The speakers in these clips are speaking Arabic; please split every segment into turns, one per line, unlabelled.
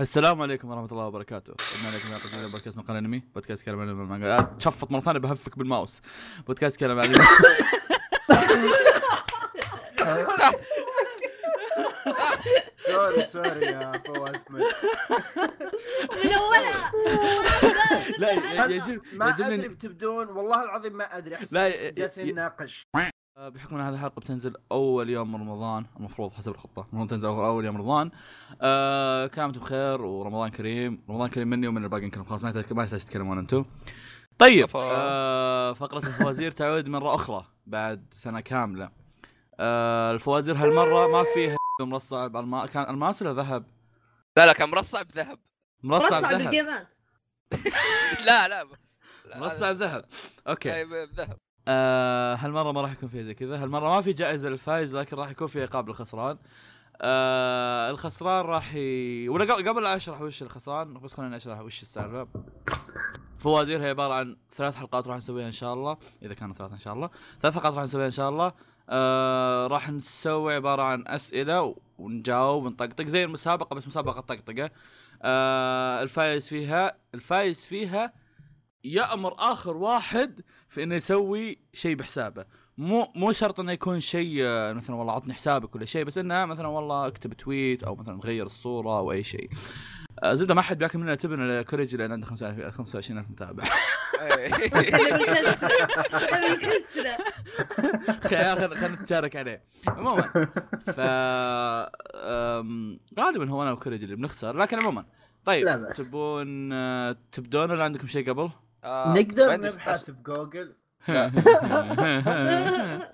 السلام عليكم ورحمة الله وبركاته، إن عليكم يا قديم بودكاست من قناة انمي، بودكاست كلام عن الأنمي والمانجا، آه، تشفط مرة ثانية بهفك بالماوس، بودكاست كلام عن الأنمي.
سوري سوري يا فواز من
من اولها
لا يعجب
ما ادري
يعجبني
بتبدون والله العظيم ما ادري احس
لا،
لا
ي- ي-
جالسين نناقش
آه، بحكم ان هذه الحلقة بتنزل أول يوم من رمضان المفروض حسب الخطة، المفروض تنزل أول أول يوم رمضان. آه، كلامكم بخير ورمضان كريم، رمضان كريم مني ومن الباقي يمكن خلاص ما يحتاج ما يحتاج تتكلمون أنتم. طيب
كفو.
آه، فقرة الفوازير تعود مرة أخرى بعد سنة كاملة. آه، الفوازير هالمرة ما فيها مرصع بالما كان الماس ولا ذهب؟
لا لا كان مرصع بذهب
مرصع
رصع
بذهب
بالجيمات
لا لا لا،
مرصع بذهب اوكي
أي، بذهب
آه هالمره ما راح يكون فيها زي كذا هالمره ما في جائزه للفايز لكن راح يكون في عقاب للخسران آه الخسران راح ي... ولا قبل- قبل لا اشرح وش الخسران بس خليني اشرح وش السالفه فوازير هي عباره عن ثلاث حلقات راح نسويها ان شاء الله اذا كانوا ثلاث ان شاء الله ثلاث حلقات راح نسويها ان شاء الله آه راح نسوي عباره عن اسئله ونجاوب ونطقطق زي المسابقه بس مسابقه طقطقه آه الفايز فيها الفايز فيها يامر اخر واحد في انه يسوي شيء بحسابه مو مو شرط انه يكون شيء آه، مثلا والله عطني حسابك ولا شيء بس انه مثلا والله اكتب تويت او مثلا غير الصوره او اي شيء آه، زبده ما حد بياكل مننا تبن ولا كوريج لان عنده 5000 25000 متابع
إيه.
خلي بالكسرة خلي بالكسرة
خلينا خلينا نتشارك عليه عموما ف أم، غالبا هو انا وكوريج اللي بنخسر لكن عموما طيب
لا بأس.
تبون آه، تبدون ولا عندكم شيء قبل؟
آه،
نقدر نبحث بجوجل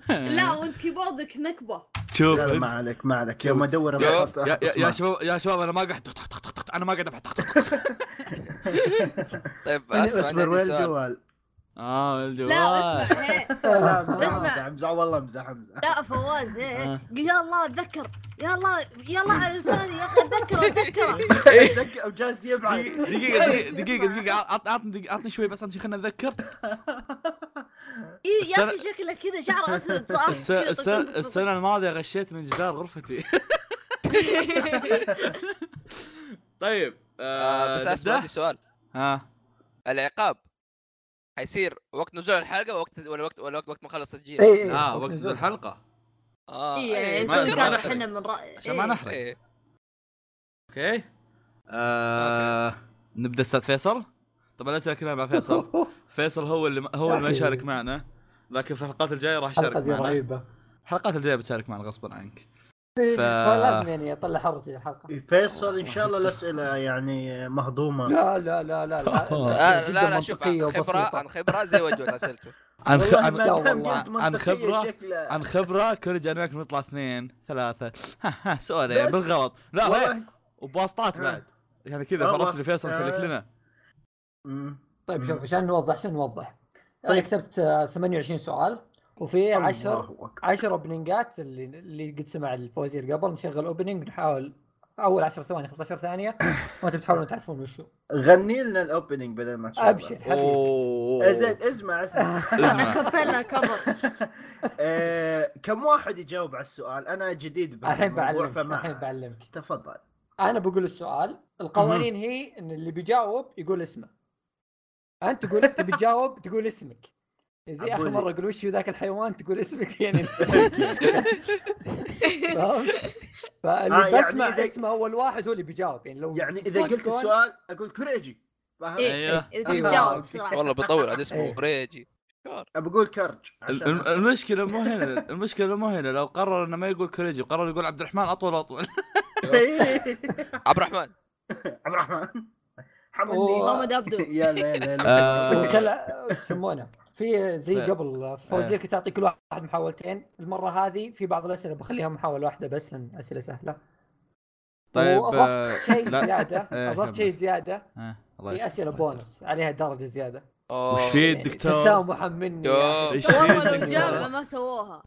لا وانت كيبوردك نكبة
شوف
لا لا ما
يا-
عليك ما عليك يوم ادور
يا-
أحط- أحط
يا يا
اسمع.
شباب يا شباب انا ما قاعد طق- طق- طق- طق، انا ما قاعد أبحث طق- طق- طق.
طيب
أنا
اسمع أنا
اصبر
عندي
وين
سؤال.
الجوال؟
اه الجوال
لا اسمع هي.
لا
اسمع.
امزح امزح والله امزح امزح
لا فواز هي.
آه.
يا الله اتذكر يا الله يا الله على لساني يا اخي اتذكر اتذكر
دق- وجالس يبعد
إيه. دقيقة
طيب.
دقيقة دقيقة دقيقة عط- عطني دقيقة- عطني شوي بس عطني خلنا اتذكر
إيه، يا اخي
السنة-
شكله كذا شعر اسود صح
الس- الس- السنة الماضية غشيت من جدار غرفتي
إيه،
طيب
آه، بس اسمع
نبدأ؟
عندي سؤال
ها
العقاب حيصير وقت نزول الحلقه وقت ولا وقت ولا وقت ما خلص تسجيل
إيه.
إي إي،
اه وقت نزول الحلقة
اه
إيه،
آه، ما-
نسوي
ما
سالفة
نحرق.
احنا من رأي
عشان ما
إيه.
نحرق
إيه.
طيب،
اوكي آه، نبدا استاذ فيصل طبعا الاسئله كلها مع فيصل فيصل هو اللي هو
يا
اللي ما
أخي.
يشارك معنا لكن في الحلقات الجايه راح يشارك
الحلقه دي
معنا
رهيبه
الحلقات الجايه بتشارك معنا غصبا عنك ف-
فلازم يعني اطلع حرتي الحلقه
فيصل ان شاء الله الاسئله يعني مهضومه
لا لا لا لا لا
آه، لا لا شوف عن خبره عن خبره زي وجهه اسئلته
عن خ...
والله
عن...
ما
لا
دام
والله،
قلت
عن- عن
منطقية
خبرة،
شكله.
عن خبره كوريج انا وياك نطلع اثنين ثلاثه ها ها سؤالين
بس.
بالغلط لا هي
والله-
وبواسطات
ها.
بعد يعني كذا
والله.
فرصت فيصل يسلك
آه.
لنا
مم.
طيب شوف عشان نوضح عشان نوضح
طيب.
طيب كتبت آه، 28 سؤال وفي 10
الله أكبر.
10 اوبننجات اللي اللي قد سمع الفوازير قبل نشغل اوبننج نحاول اول 10 ثواني 15 ثانيه وانتم بتحاولون تعرفون وشو
غني لنا الاوبننج بدل ما تشغل.
ابشر حبيبي
اوه
زين اسمع اسمع
اسمع
كابيلا كفر
آه، كم واحد يجاوب على السؤال انا جديد
الحين
الموضوع
بعلمك
فما
الحين بعلمك
تفضل
انا بقول السؤال القوانين هي ان اللي بيجاوب يقول اسمه انت تقول انت بتجاوب تقول اسمك زي اخر
أقول-
مره اقول وش ذاك الحيوان تقول اسمك يعني فهمت؟
آه،
فاللي
يعني
بسمع
إذا-
اسمه اول واحد هو اللي بيجاوب يعني لو
يعني اذا
تكون-
قلت السؤال اقول كوريجي فاهم
إيه.
ايوه
إذا تجاوب بسرعه
والله بطول هذا اسمه
إيه.
ريجي
بقول كرج
الم-
عشان أصير.
المشكله مو هنا المشكله مو هنا لو قرر انه ما يقول كوريجي قرر يقول عبد الرحمن اطول اطول
عبد الرحمن
إيه. عبد الرحمن
أوه.
حمدني
محمد عبدو
يا ليل يا ليل.
آه،
وكلا- يسمونه في زي
ف-
قبل فوزير
آه.
كنت اعطي كل واحد محاولتين المره هذه في بعض الاسئله بخليها محاوله واحده بس لان اسئله سهله
طيب آه،
واضفت شيء
لا.
زياده
إيه،
اضفت
كمل.
شيء زياده
آه، الله
في
يستر،
اسئله
الله يستر.
بونص عليها درجه زياده
أوه.
وش في
يعني
الدكتور؟
تسامحا مني
يا.
يعني.
إيش
والله
عندك
لو
ترى؟
جامعه ما سووها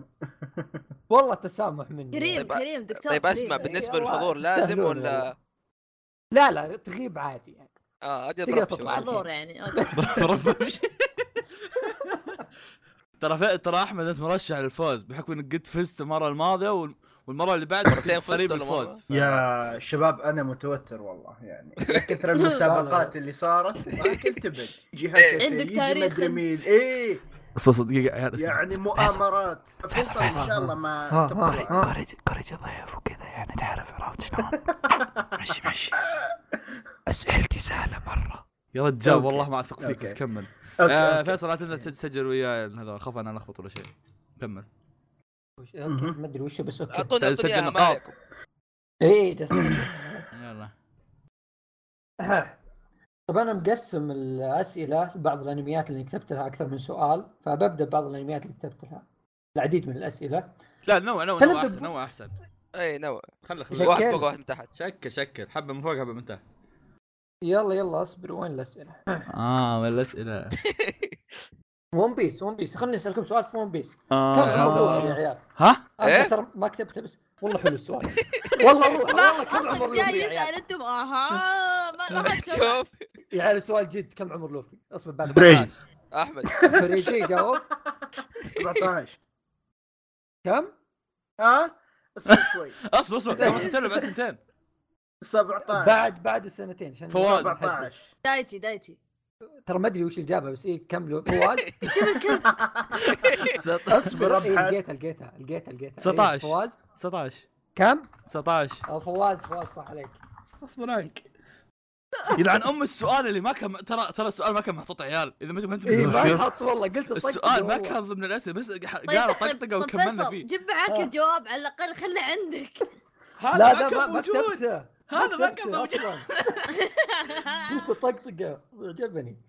والله تسامح مني يعني.
كريم
طيب،
كريم دكتور
طيب اسمع
إيه،
كريم.
بالنسبه
والله
للحضور لازم
تستاهلون
ولا
والله. لا لا تغيب عادي يعني
اه ادي
تقدر
اضرب
تطلع.
شوي.
حضور يعني أوكي.
برفرش ترى ف- ترى احمد انت مرشح للفوز بحكم انك قد فزت المره الماضيه وال- والمره اللي بعد
مرتين
كنت قريب
فزت ولا مرة؟
الفوز ف-
يا شباب انا متوتر والله يعني من كثر المسابقات اللي صارت اكل تبد جهه
إيه.
كسي،
عندك
يجي
تاريخ
مدري
أنت.
مين ايه
اصبر اصبر دقيقه يا عيال، اصبر.
يعني مؤامرات فيصل ان شاء الله ما تقصر
كوريج كوريج ضيف وكذا يعني تعرف عرفت شلون مشي مشي اسئلتي سهله مره
يا رجال
أوكي.
والله ما اثق فيك
أوكي.
بس كمل
أوكي،
آه،
أوكي.
فيصل لا تنسى تسجل وياي هذا خاف انا الخبط ولا شيء كمل
وش- اوكي ما ادري وش بس اوكي
اعطوني
سجل
اعطوني اياها ما
نقاط.
عليكم
اي جس-
يلا
طب انا مقسم الاسئله لبعض الانميات اللي كتبت لها اكثر من سؤال فببدا ببعض الانميات اللي كتبت لها العديد من الاسئله
لا نوع نوع
خلنا
نوع احسن
نبدأ.
نوع احسن
اي نوع
خله خله
شكل.
واحد فوق واحد من تحت
شكل شكل حبه من فوق حبه من تحت
يلا يلا اصبر وين الاسئله؟
اه والاسئله
ون بيس ون بيس خليني اسالكم سؤال في ون بيس
آه.
كم
اه
عمره
الله.
يا عيال؟
ها
انا
إيه؟
ترى ما كتبته بس والله حلو السؤال والله روح والله كم عمر
اصلا
لوفي
جاي
يا
يسال
عيال
انتم اها ما ما حد جاوب.
شوف
يا عيال السؤال جد كم عمر لوفي؟ اصبر بعد
دريج.
احمد
فريجي جاوب
17
كم؟
ها اصبر شوي
اصبر اصبر
إيه.
بعد سنتين ولا بعد سنتين
17
بعد بعد السنتين عشان
فواز.
17
دايتي دايتي
ترى ما ادري وش الاجابه بس ايه كم لو- فواز
اصبر
إيه،
ابحث
لقيتها لقيتها لقيتها لقيتها إيه،
19.
فواز
19
كم؟
19
آه، فواز فواز صح عليك
اصبر عنك يلعن ام السؤال اللي ما كان ترى ترى السؤال ما كان محطوط عيال اذا ما انت ما انت
اي
شوف.
إيه، ما حط والله قلت الطقطقة
السؤال ما
والله.
كان ضمن الاسئله بس قالوا
طيب
طقطقه
طيب
وكملنا
فيصل
فيه
جيب معاك
آه.
الجواب على الاقل خله عندك
لا
هذا ما
ده ما
كان
ما
موجود
كتبته
هذا ما كان
كتبته
موجود
اصلا قلت طقطقه عجبني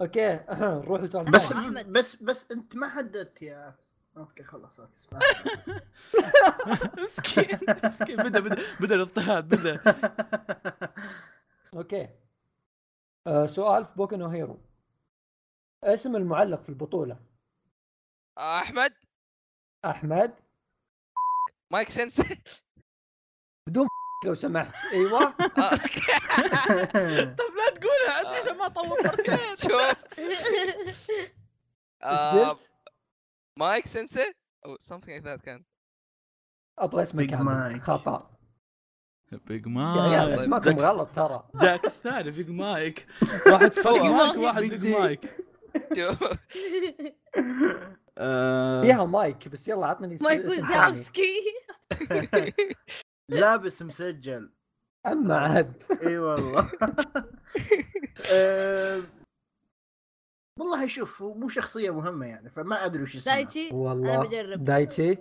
اوكي نروح لسؤال
بس
ثاني.
أحمد.
بس بس انت ما حددت يا اوكي خلاص أوكي، اسمع.
مسكين مسكين بدا بدا بدا الاضطهاد بدا
اوكي آه، سؤال في بوكو نو هيرو اسم المعلق في البطوله
احمد
احمد
مايك سنسي
لو سمحت ايوه
آه،
طب لا تقولها انت عشان ما طول مرتين
شوف
ايش
آه،
قلت؟
مايك سنسي او something like that كان
ابغى اسمه
Big
كامل
Mike.
خطا
بيج
يعني يا عيال
مايك
اسماكم غلط ترى
جاك الثاني بيج مايك واحد فوق مايك واحد
بيج
بيج مايك
شوف
فيها مايك بس يلا عطني اسم-
مايك
اسم ثاني.
وزاوسكي
لابس مسجل
اما عاد
اي والله آه، والله شوف هو مو شخصيه مهمه يعني فما ادري وش اسمها
دايتي انا
والله
بجرب
دايتشي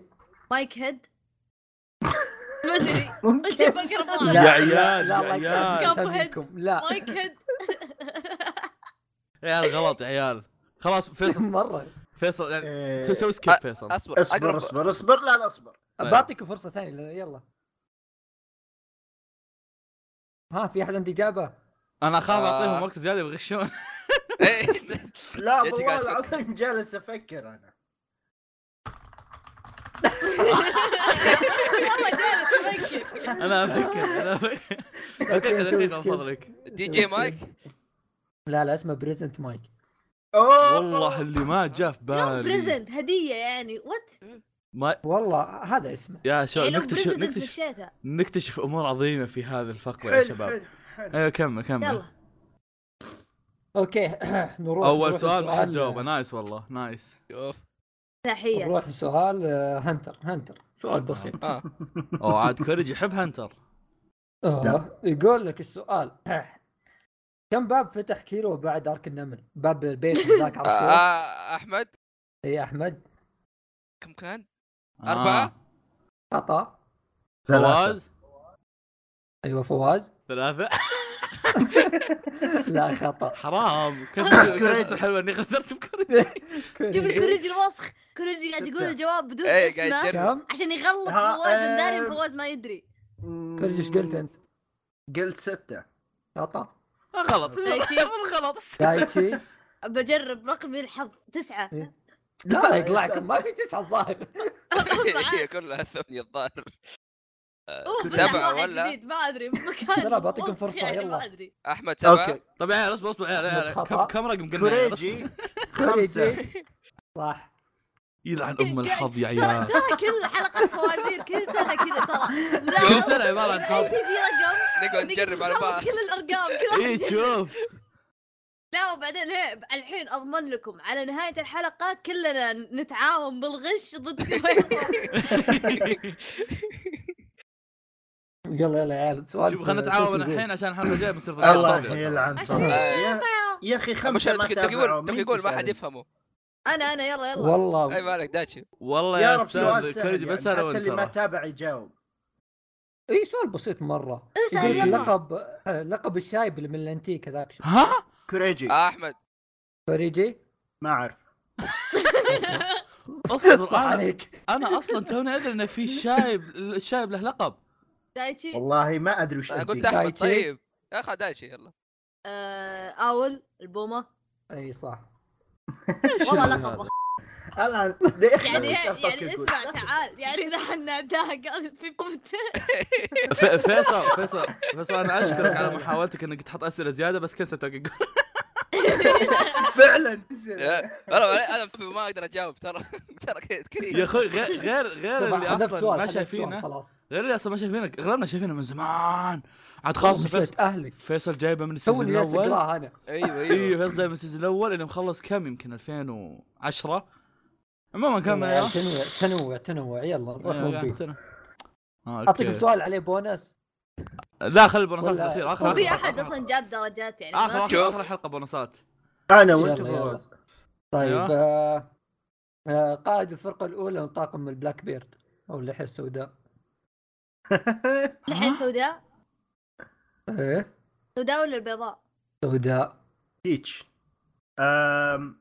مايك هيد ما ادري قلت
ممكن
بقرب
لا،
يا عيال
واحد.
يا
لا لا يكرهك
عيال
كم
أساميكم. لا
مايك هيد
يا عيال غلط يا عيال خلاص فيصل
مره
فيصل يعني
آه،
سو- سوي سكيب فيصل
اصبر
اصبر
اقرب
اصبر اصبر لا لا اصبر
طيب.
بعطيكم فرصه ثانيه لأ- يلا ها في احد عنده اجابه؟
انا اخاف
آه.
اعطيهم وقت زياده بيغشون
إيه.
لا
يدي
والله
قاعد
العظيم جالس افكر انا
والله جالس افكر
انا افكر انا افكر
أوكي،
دقيقه
نسوي
دقيقه من
skip.
فضلك
دي جي مايك
لا لا اسمه بريزنت مايك
أوه،
والله اللي ما جاء في بالي
بريزنت هديه يعني وات
ما
والله هذا اسمه
يا شباب
يعني لو
نكتشف
بريزنت
نكتشف
مشيتها
نكتشف امور عظيمه في هذا الفقره يا
حلو،
شباب
حلو، حلو.
ايوه كمل كمل
يلا
اوكي نروح
اول
نروح
سؤال ما حد
لسؤال-
جاوبه نايس والله نايس
شوف
تحيه
نروح لسؤال آه، هنتر هنتر سؤال بسيط
اه
او عاد كوريج يحب هنتر
آه، يقول لك السؤال كم باب فتح كيلو بعد ارك النمل؟ باب البيت ذاك
آه،
عرفته؟
آه، احمد
اي احمد
كم كان؟
آه.
أربعة؟
خطا
فواز
ايوه فواز
ثلاثة
لا خطا
حرام كنت
كوريج.
كنت حلوة اني خسرت بكوريج
شوف الكوريج الوسخ كوريج قاعد يقول
ستة.
الجواب بدون
إيه،
اسمه
قاعد يجرب.
كم؟
عشان يغلط
ها،
فواز مداري
آه.
فواز ما يدري
كوريج ايش قلت انت؟
قلت ستة
خطا
آه، غلط
دايتشي.
غلط
دايتشي
بجرب رقمي الحظ تسعه
لا يقلعكم ما في تسعه الظاهر
هي كلها ثمانية الظاهر آه،
هو فتح
سبعة
واحد
ولا؟
جديد ما ادري مكان
ترى بعطيكم
وسخ
فرصة،
يعني
يلا.
ما ادري
احمد سبعة
اوكي
طب يا عيال اصبر اصبر يا عيال، يا عيال كم
خطأ.
كم رقم قلنا يا عيال؟
كوريجي خمسة
كوريجي صح
يلعن ام الحظ يا
ترى
عيال
ترى كل حلقة فوازير كل سنة كذا ترى
كل سنة عبارة عن
أي
حظ
شيء فيه رقم
نقعد نجرب على
نخلص
بعض
كل الأرقام كل واحد
اي إيه،
يجرب.
شوف
لا وبعدين هي الحين اضمن لكم على نهايه الحلقه كلنا نتعاون بالغش ضد فيصل
يلا يلا يا عيال سؤال
شوف خلينا نتعاون الحين عشان الحلقه الجايه بنصير في
الله
الطابع.
يلعن
عشان
طبعا يا-
يعطيهم.
يا اخي
مش
خمسه ما
تبي
تابعوا
يقول
مين
تبي يقول ما حد
تسأل؟
يفهمه
انا انا يلا يلا
اي
والله
أيوة.
مالك داتشي
والله
يا
يا
رب سؤال
استاذ
سهل
كوريجي بس
يعني
انا
حتى
وانت
اللي ما
ترى.
تابع يجاوب
اي سؤال بسيط مره
اسأل
يقول لك
يلا.
لقب لقب الشايب اللي من الانتيك هذاك شو
ها
كوريجي
آه احمد
فريجي
ما اعرف
اصبر
صح
أنا-
عليك
انا اصلا توني ادري انه في شايب الشايب له لقب
دايتشي
والله ما ادري وش
انا قلت
أديك.
احمد
دايتشي.
طيب يا اخي داتشي يلا
آه، اول البومه
اي صح
والله
شنو
لقب
هذا؟
الآن ليه إحنا
يعني
نسأل طوكيو
يعني
جول؟
اسمع تعال يعني اذا حناداها قال في قمته
ف- فيصل فيصل فيصل انا اشكرك على محاولتك انك تحط اسئله زياده بس كنسلت أوكي.
فعلا
انا انا ما اقدر اجاوب ترى ترى كذا
يا
كريه
اخوي غير غير غير
طبعا
اللي
حذفت
اصلا
سؤال
ما
حذفت سؤال
شايفينه
خلاص
غير اللي اصلا ما شايفينه اغلبنا شايفينه من زمان عاد خاصه فيصل
مشكلة اهلك
فيصل جايبه من السيزون
توني جالس
الاول
اقراها انا
ايوه
اي
ايوه
فيصل جايبه من السيزون الاول انه مخلص كم يمكن 2010 عموما كمل
يلا،
يا
تنوع تنوع تنوع يلا نروح ون بيس.
إيه، آه،
اعطيك
أوكي.
سؤال عليه بونس
لا خلي البونصات
ولا-
الاخير اخر
وفي
آخر-
احد
آخر-
اصلا جاب درجات يعني
اخر
ما
آخر- اخر حلقه بونصات
انا
يلا،
وانت
يلا.
فواز
طيب
أيوة.
آه، آه، قائد الفرقه الاولى من طاقم البلاك بيرد او اللحيه السوداء
لحين سوداء
ايه
سوداء ولا البيضاء
سوداء
تيتش أم،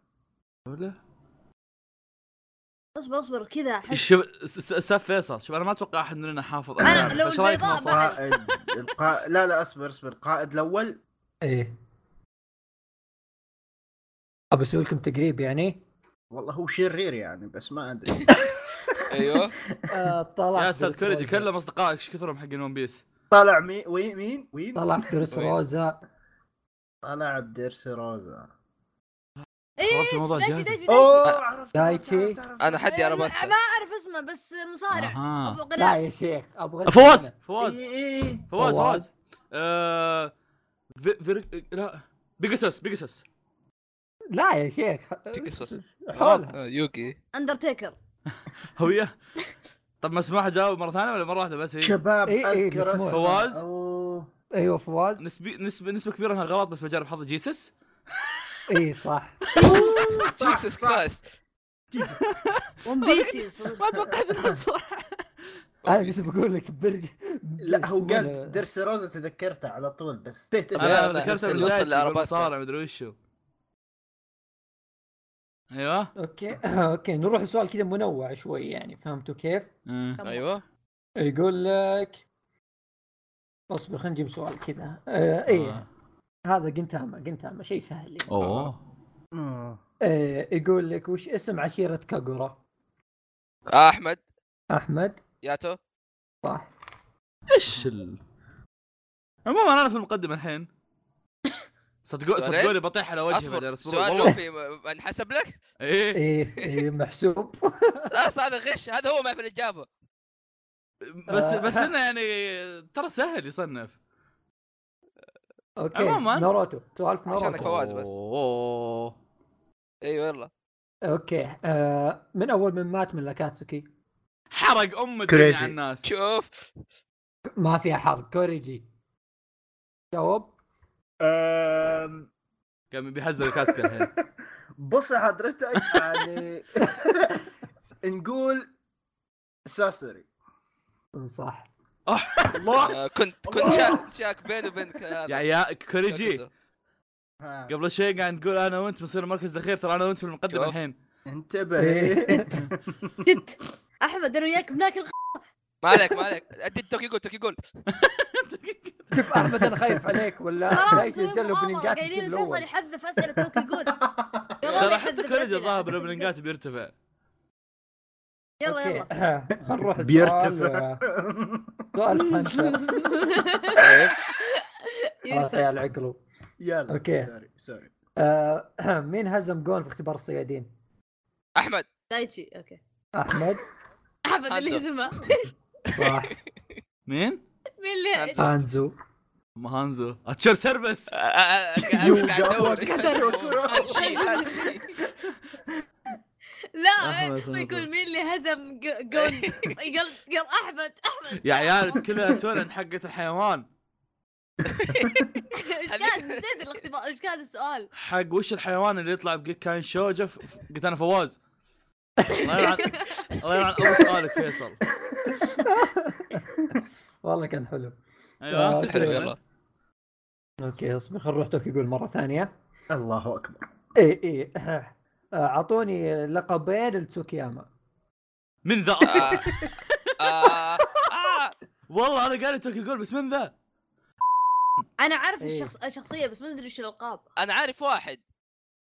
اصبر اصبر كذا احس
شوف س- س- سف فيصل شوف انا ما اتوقع احد مننا حافظ أسامي.
لو
فإيش رأيك
البيضاء
ناصر؟
بعد.
قائد القا... لا لا اصبر اصبر القائد الاول
ايه ابى اسوي لكم تقريب يعني
والله هو شرير يعني بس ما ادري
ايوه
آه، طلع
يا استاذ كوريجي
دروسروزا.
كلم اصدقائك ايش كثرهم حقين ون بيس
طلع مين وين مين وين
طلع دروس
طيب.
روزا
طلع بدرس روزا
إيه،
خربت الموضوع
دايتشي
زياده
دايتشي
اوه
دايتشي
عرفت عرفت، عرفت،
دايتشي.
عرفت. إيه،
انا حدي انا بس
ما اعرف اسمه بس مصارع
أها. أه،
ابو
لا
قناع
يا شيخ ابغى لك
فواز
أنا.
إيه.
فواز
إي، إي.
فواز
فواز.
فواز آه، في- فير- لا بيجاسوس بيجاسوس
لا يا شيخ
بيكاسوس.
حولها
آه، يوكي
اندرتيكر
هويه طب مسموح اجاوب مره ثانيه ولا مره واحده بس إيه. هي
شباب
إي، إي،
اذكر
مسموع.
اسمه.
فواز؟
أوه.
ايوه فواز
نسبي نسبه نسبه كبيره انها غلط بس بجرب حظ جيسس
اي إيه، صح
صح،
جيسس
صح.
كرايست
ون بيس
ما توقعت انها صح
انا لسه بقول لك برج إيه،
لا هو
يسمونه-
قال درس روزا تذكرته على طول بس نسيت اسمه.
انا
لا،
ذكرت
نفس اللي وصل لأرباستا.
صار مدري وشو
أيوة.
ايوه
اوكي اوكي نروح لسؤال كذا منوع شوي يعني فهمتوا كيف؟
آه.
ايوه
يقول لك اصبر خلينا نجيب سؤال كذا آه ايه
آه.
هذا جنتاما جنتاما شيء سهل يعني.
اوه
أوه.
آه يقول لك وش اسم عشيرة كاغورا؟
آه، احمد
احمد
ياتو
صح
ايش ال عموما انا في المقدمه الحين صدقوا
سؤالين؟
صدقوني بطيح على وجهي بعد
اصبر
الاسبوع
سؤال
والله
لوفي م- انحسب لك
ايه
ايه ايه محسوب
خلاص هذا غش هذا هو ما في الاجابه
بس
آه.
بس انه يعني ترى سهل يصنف
اوكي
عموماً.
ناروتو سؤال في
عشانك
ناروتو
فوق. فواز بس.
اوه
ايوه يلا
اوكي آه من اول من مات من لاكاتسوكي
حرق ام الدنيا
كريجي.
على الناس
شوف
ما فيها حرق كوريجي جاوب
أم،
قام بيحزن الكاتكه الحين
بص حضرتك يعني نقول ساسوري
صح
الله
آه، كنت كنت شاك شاك بيني وبينك
يا
هذا.
عيال كوريجي
ها،
قبل شوي قاعد نقول انا وانت بنصير المركز الاخير ترى انا وانت في المقدمه
شوف.
الحين
إيه.
انتبه
جد احمد انا وياك بناكل خ-
ما عليك ما عليك ادي توكي جولد توكي جولد
شوف احمد انا خايف عليك ولا
حرام
جاي
مسوي
يسجل
مغامرة.
بلنجات
قايلين
السيب
الفيصل
الاول
يحذف اسئله توك يقول يلا
ترى
يحذف
حتى كوريجي
أسئلة.
الظاهر بالبلنجات بيرتفع
يلا
أوكي.
يلا
خل نروح لسؤال-
بيرتفع.
سؤال هانتر
إيه.
طيب
خلاص يا العقلو
يلا
أوكي.
سوري سوري
آه، مين هزم جون في اختبار الصيادين؟
احمد
دايتشي اوكي
احمد
احمد اللي
حسن.
يزمه
صح
مين؟
مين اللي
حسن.
سانزو
ما هانزو اتشر سيرفس
آه، آه، آه، قاعد-
يو،
قاعد أدور.
جوز كدر.
هات شيء، هات شيء.
لا
أحمد،
ما يقول
أحمد.
مين اللي هزم ج- جون قال قال احمد احمد
يا عيال كلها تورن حقت الحيوان
ايش كان نسيت الاختبار ايش كان السؤال
حق وش الحيوان اللي يطلع بجيك كان شوجه ف- ف- قلت انا فواز الله يلعن الله يلعن اول سؤالك فيصل
والله كان حلو
ايوه
طيب.
حلو يلا
اوكي اصبر خل نروح توكي يقول مره ثانيه
الله اكبر
اي اي آه، اعطوني لقبين لتسوكياما
من ذا أصلاً؟
آه، آه، آه.
والله انا قاري توكي جول بس من ذا
انا عارف
إيه.
الشخص الشخصيه بس ما ادري وش الالقاب
انا عارف واحد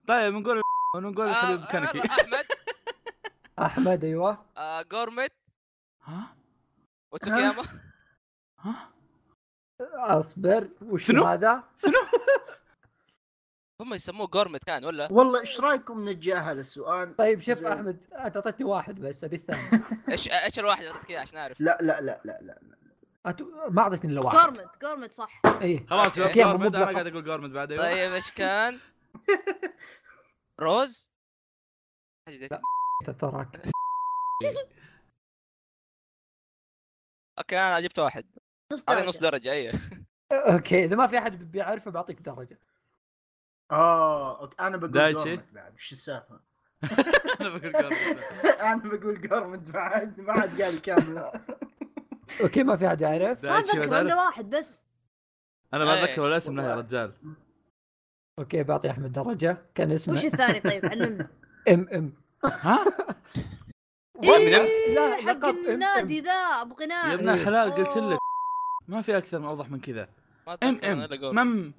طيب نقول ونقول
آه،
الحبيب
آه،
كنكي
احمد
احمد ايوه
آه، جورميت
ها
وتوكياما
ها
اصبر وش
شنو؟
هذا؟
هم يسموه جورميت كان ولا
والله ايش رايكم نتجاهل السؤال
طيب شوف
زين.
احمد انت اعطيتني واحد بس ابي الثاني
ايش ايش الواحد اللي أعطيك إياه عشان اعرف
لا لا لا لا لا
أت... ما اعطيتني الا واحد
جورمنت جورمنت صح
اي
خلاص يا
أوكي.
جورمد انا
مطلقة.
قاعد اقول جورمد بعد ايوه
طيب ايش كان؟ روز؟ حاجة زي كده.
انت تراك
اوكي انا جبت واحد
نص
هذا نص
درجة.
درجة ايوه
اوكي اذا ما في احد بيعرفه بعطيك درجه
اه أوكي، انا بقول
دايتشي.
جورمنت بعد وش السالفه؟
انا بقول جورمد
انا بقول جورمنت بعد ما عاد قال كامله
اوكي ما في احد يعرف
ما
دايتشي
اتذكر
بعد
الا واحد بس
انا ما اتذكر ولا اسم له يا
والله.
رجال
اوكي بعطي احمد درجه كان
وش
اسمه
الثاني طيب علمنا
ام ام
ها
والله نفس.
لا
إيه، حق
لقب إم إم.
النادي ذا ابو
يا
غناء
أيوه.
ابن الحلال قلت لك ما في اكثر من اوضح من كذا
ما
ام
أتذكر أنا إلا
ام
جورميت.
مم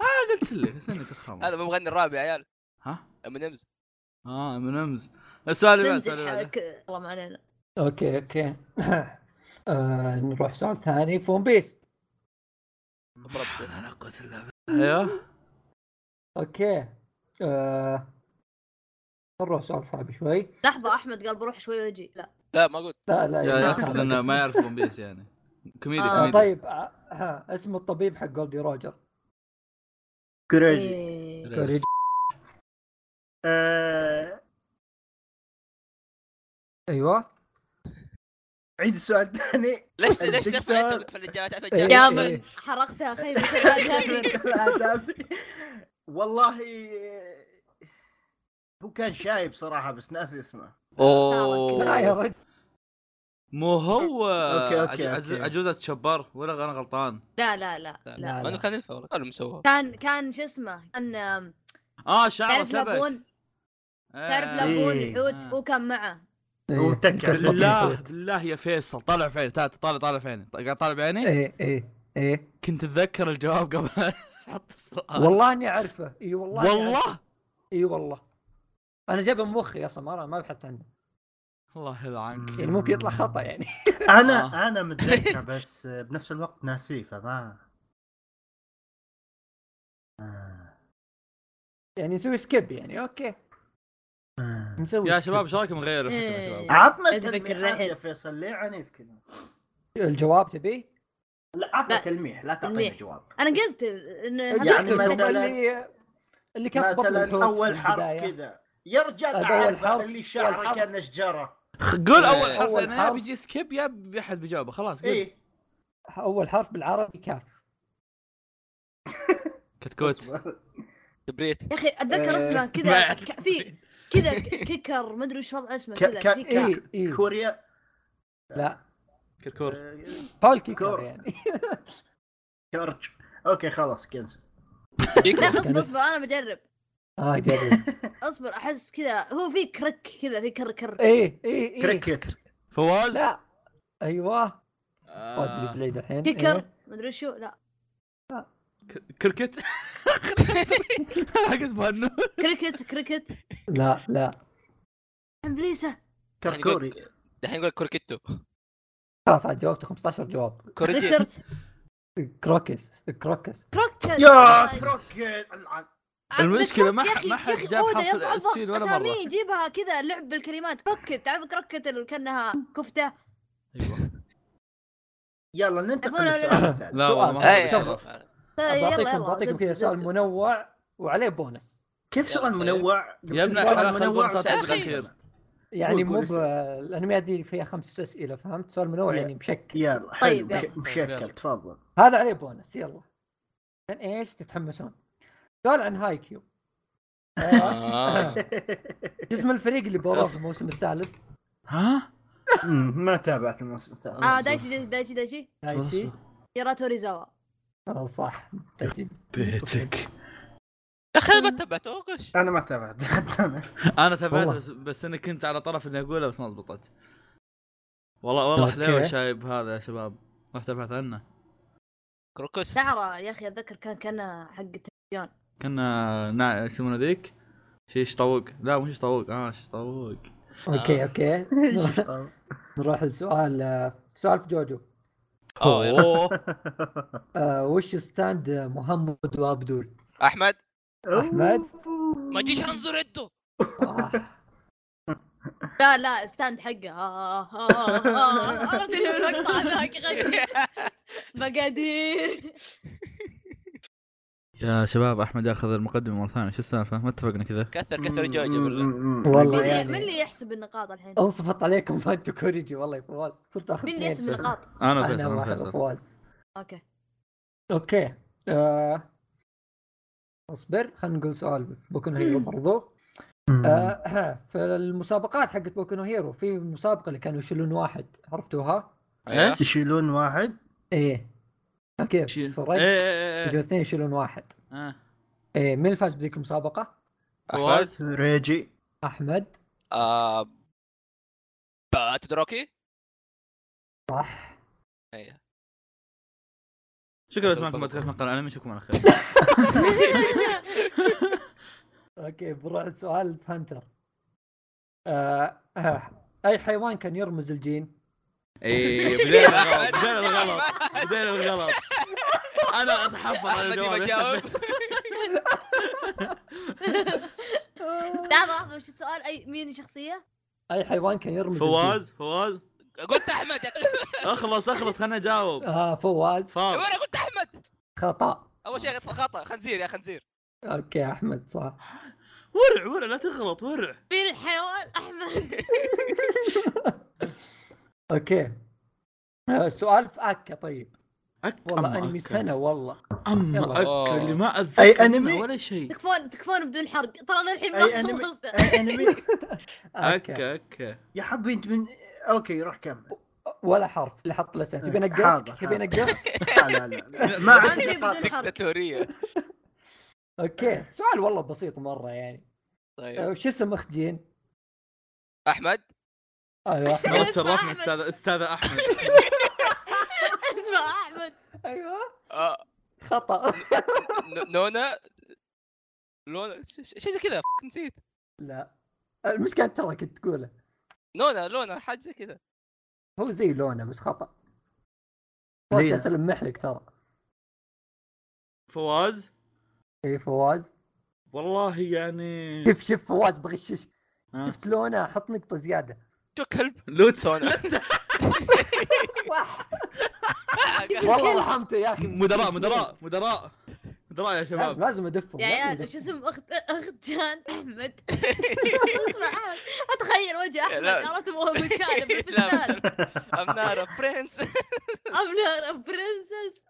اه قلت لك استنك تخمم
هذا مو مغني الرابع يا عيال
ها
ام نمز
اه من امز السؤال اللي بعد السؤال اللي بعده.
تمزح والله ما علينا
اوكي اوكي آه نروح سؤال ثاني فون بيس
ضربت
لا قوة الا بالله ايوه
اوكي آه نروح سؤال صعب شوي
لحظه احمد قال بروح شوي واجي لا
لا ما قلت
لا لا
يا-
ما
يقصد
كان
انه
اسم.
ما يعرف ون بيس يعني كوميدي
آه،
آه
كوميدي
طيب آه آه، اسم الطبيب حق جولدي روجر
كوريجي
إيه.
كوريجي.
آه،
ايوه
عيد السؤال ثاني
ليش ليش تعرف
الدكتور-
عليك في الرجال تعرف
إيه.
الرجال
جامد حرقتها خيبه الأدب.
والله هو كان شايب صراحه بس ناسي اسمه
لا يا
اوه
رجل
مو هو
أوكي، أوكي،
عجوز-
أوكي.
عجوزة تشبر ولا انا غلطان
لا لا لا
لا.
لا
ما انه كان ينفع والله قالوا مسوها
كان كان شو اسمه كان آم،
اه شعره
تعرف
سبت
لابون تعرف
آه.
لابون؟
لابون
إيه.
الحوت
آه.
هو كان معه
هو
إيه.
تكع.
بالله بالله يا فيصل طالع في عيني تعال طالع طالع في عيني قاعد طالع بعيني
إيه.
ايه ايه ايه
كنت اتذكر الجواب قبل أن احط السؤال
والله اني اعرفه اي والله إني
آه.
أعرفه.
والله
اي والله انا جايبه من مخي اصلا ما ما بحثت عنه
الله يلعنك
يعني ممكن يطلع خطا يعني
انا انا متذكر بس بنفس الوقت ناسيه فما
يعني نسوي سكيب يعني اوكي نسوي
يا
skip.
شباب ايش رايكم نغير الحكم يا
إيه.
شباب
عطنا
أتذكر
تلميحات
الرحل.
يا فيصل ليه عنيف كذا؟
الجواب تبي؟
يعني لا عطنا
لا.
تلميح لا تعطينا
تلميح.
جواب
انا قلت انه
يعني
هذا-
الدكتور
مثلاً-
اللي اللي كان في بطن
مثلا
الحوت
اول
في
حرف
البداية.
كذا يا رجال
طيب، أول
تعرف
حرف-
اللي
أول
شعره
حرف.
كان شجره
قول اول
إيه.
حرف
أول
لان يا
حرف.
بيجي سكيب يا بي- احد بيجاوبه خلاص قول
إيه.
ايه
اول حرف بالعربي كاف
كتكوت
كبريت
يا اخي اتذكر
آه،
اسمه كذا ك- في كذا ك- كيكر ما ادري وش وضع اسمه
ك-
كذا
ك- إيه.
كيكر.
اي اي
كوريا
لا
كركور
كور.
هول كيكر يعني
كارج اوكي آه، خلاص كنسل
لا
فيكو
كان
اصبر اصبر انا بجرب
اه جميل
اصبر احس كذا هو في كرك كذا في كر كر
إيه.
اي اي اي
كريكت
فواز
لا ايوه فوز
آه،
بالبليد الحين
كيكر
إيه.
ما ادري شو لا
ك- كركت حقت بانو
كريكت كريكت
لا لا
ابليسه
كركوري
يعني دحين يقول كوركيتو
خلاص عاد جاوبت 15 جواب
كوريجي
كريكرت
كروكس كروكس
كروكت
آه، يا كروكت العن
المشكلة ما
آه، يا
ح-
أخي-
ما
يا
حد
أخي
جاب
أودا
حرف
يضعف
السين ولا مرة.
أساميه يجيبها كذا لعب بالكلمات كركت تعرف كركت اللي كانها كفته
أيوة.
يلا ننتقل
أبونا
للسؤال الثالث
لا والله ما
سؤال.
حد
إيه،
يشرف.
تفضل.
طيب، يلا
بعطيكم
يلا
بعطيكم
زبدة،
كذا سؤال
زبدة.
منوع وعليه بونس
كيف سؤال
يلا.
منوع؟
يا ابن
سؤال
الحلال، خل
منوع
بنسات
وسؤال
بالأخير.
منوع.
يعني
قول-
مو
قول
ب- الانميات دي فيها خمس اسئله فهمت سؤال منوع
يا.
يعني مشكل
يلا حلو
طيب، يلا.
مش- مشكل تفضل
هذا عليه بونس يلا عشان ايش تتحمسون سؤال عن هاي كيو
آه.
اسم الفريق اللي بوظف الموسم الثالث
ها؟
مم، ما تابعت الموسم الثاني
اه دايتشي دايتشي- دايتشي دايتشي
دايتشي
يراتو ريزاوا
اه صح دايتشي
بيتك
يا اخي ما تبعته غش
انا ما تابعت حتى انا
انا تابعت
والله.
بس, بس اني كنت على طرف اني اقولها بس ما زبطت والله والله
أوكي.
حليوه شايب هذا يا شباب رحت ابحث عنه
كروكوس
شعره يا اخي اتذكر كان كانها حق التلفزيون
كنا نع- يسمونه ذيك شيش طاووق لا مو شيش طاووق اه شيش طاووق
اوكي اوكي
شو طال.
نروح لسؤال سؤال في جوجو
آه، يلا.
أوه.
آه، وش ستاند محمد وابدول
احمد
احمد
ما تجيش انظر يده
آه،
لا لا ستاند حقه آه، آه، آه، آه. عرفت اللي المقطع هذاك غني مقادير
يا شباب احمد ياخذ المقدمه مره ثانيه شو السالفه ما اتفقنا كذا
كثر كثر جوجو بالله
والله
من
يعني.
اللي- من اللي يحسب النقاط الحين؟
انصفت عليكم فانتو كوريجي والله يا فواز صرت اخذ
مين اللي
اثنين.
يحسب النقاط؟
انا فيصل
انا
انا
واحد
فيصل
فواز
اوكي
اوكي آه، اصبر خلينا نقول سؤال بوكو نو هيرو برضو آه، في المسابقات حقت بوكو نو هيرو في مسابقه اللي كانوا يشيلون واحد عرفتوها؟
إيه؟
ايش؟
يشيلون واحد
ايه كيف
شيل.
في
ايه
الرج
ايه
يجوا
ايه
اثنين يشيلون واحد
آه.
ايه مين اللي فاز بذيك المسابقه؟
فواز
ريجي
احمد
أيوه. آه، با- تدروكي
صح
ايوه
شكرا لسماعكم بودكاست مقال الانمي نشوفكم على خير
اوكي بنروح لسؤال هانتر آه، آه، اي حيوان كان يرمز الجين؟
ايه بدينا الغلط بدينا الغلط بدينا الغلط انا اتحفظ على
أحمد
الجواب
ما
يا
جاوب.
سلام.
لحظة لحظة وش السؤال أي مين الشخصية؟
اي حيوان كان يرمز
فواز فواز
قلت احمد يا اخي
اخلص اخلص خلنا اجاوب
الجين؟ اه فواز
فاض
وانا قلت احمد
خطا
اول شيء غلط خطا خنزير يا خنزير
اوكي احمد صح
ورع ورع لا تغلط ورع
مين الحيوان؟ أحمد
اوكي آه، سؤال في اكا طيب
أك
والله انمي سنه والله
اما
يلا.
اك اللي ما اتذكر
أي
منه
أنمي؟
ولا شيء
تكفون تكفون بدون حرق ترى للحين
أي
ما
أنمي؟
خلصنا
آه، انمي
اكا
اكا اكا
يا حبي انت من اوكي روح كمل
ولا حرف اللي حط لسان تبي
حاضر،
انقصك تبي
حاضر.
انقصك
لا لا لا ما عندي
أنمي
نقاط
بدون حرق
دكتاتوريه
اوكي سؤال والله بسيط مره يعني
طيب
آه، وش اسم اخت جين؟
احمد
ايوه احمد
والله
اسمع
تشرفنا
أحمد.
استاذ استاذ احمد
اسمع أحمد
ايوه
آه،
خطا
ن- نونا لونا ش- ش- شيء زي كذا ف- نسيت
لا المشكله ترى كنت تقوله
نونا لونا حاجه زي كذا
هو زي لونه بس خطا
ليه؟
فواز جالس المح لك ترى
فواز
اي إيه، فواز
والله يعني
شوف شوف فواز بغشش
آه.
شفت لونه حط نقطه زياده
شو كلب
لوتون
صح والله رحمته يا اخي
مدراء مدراء مدراء مدراء يا
لازم
شباب
لازم ادفهم
يا
لازم
عيال
أدفهم.
شو اسم أخت أخت جان أحمد اسمع أحمد أتخيل وجه أحمد
لا.
عرفت وهو متشالب بالفستان
لا امناره برنس
أبنار برنسس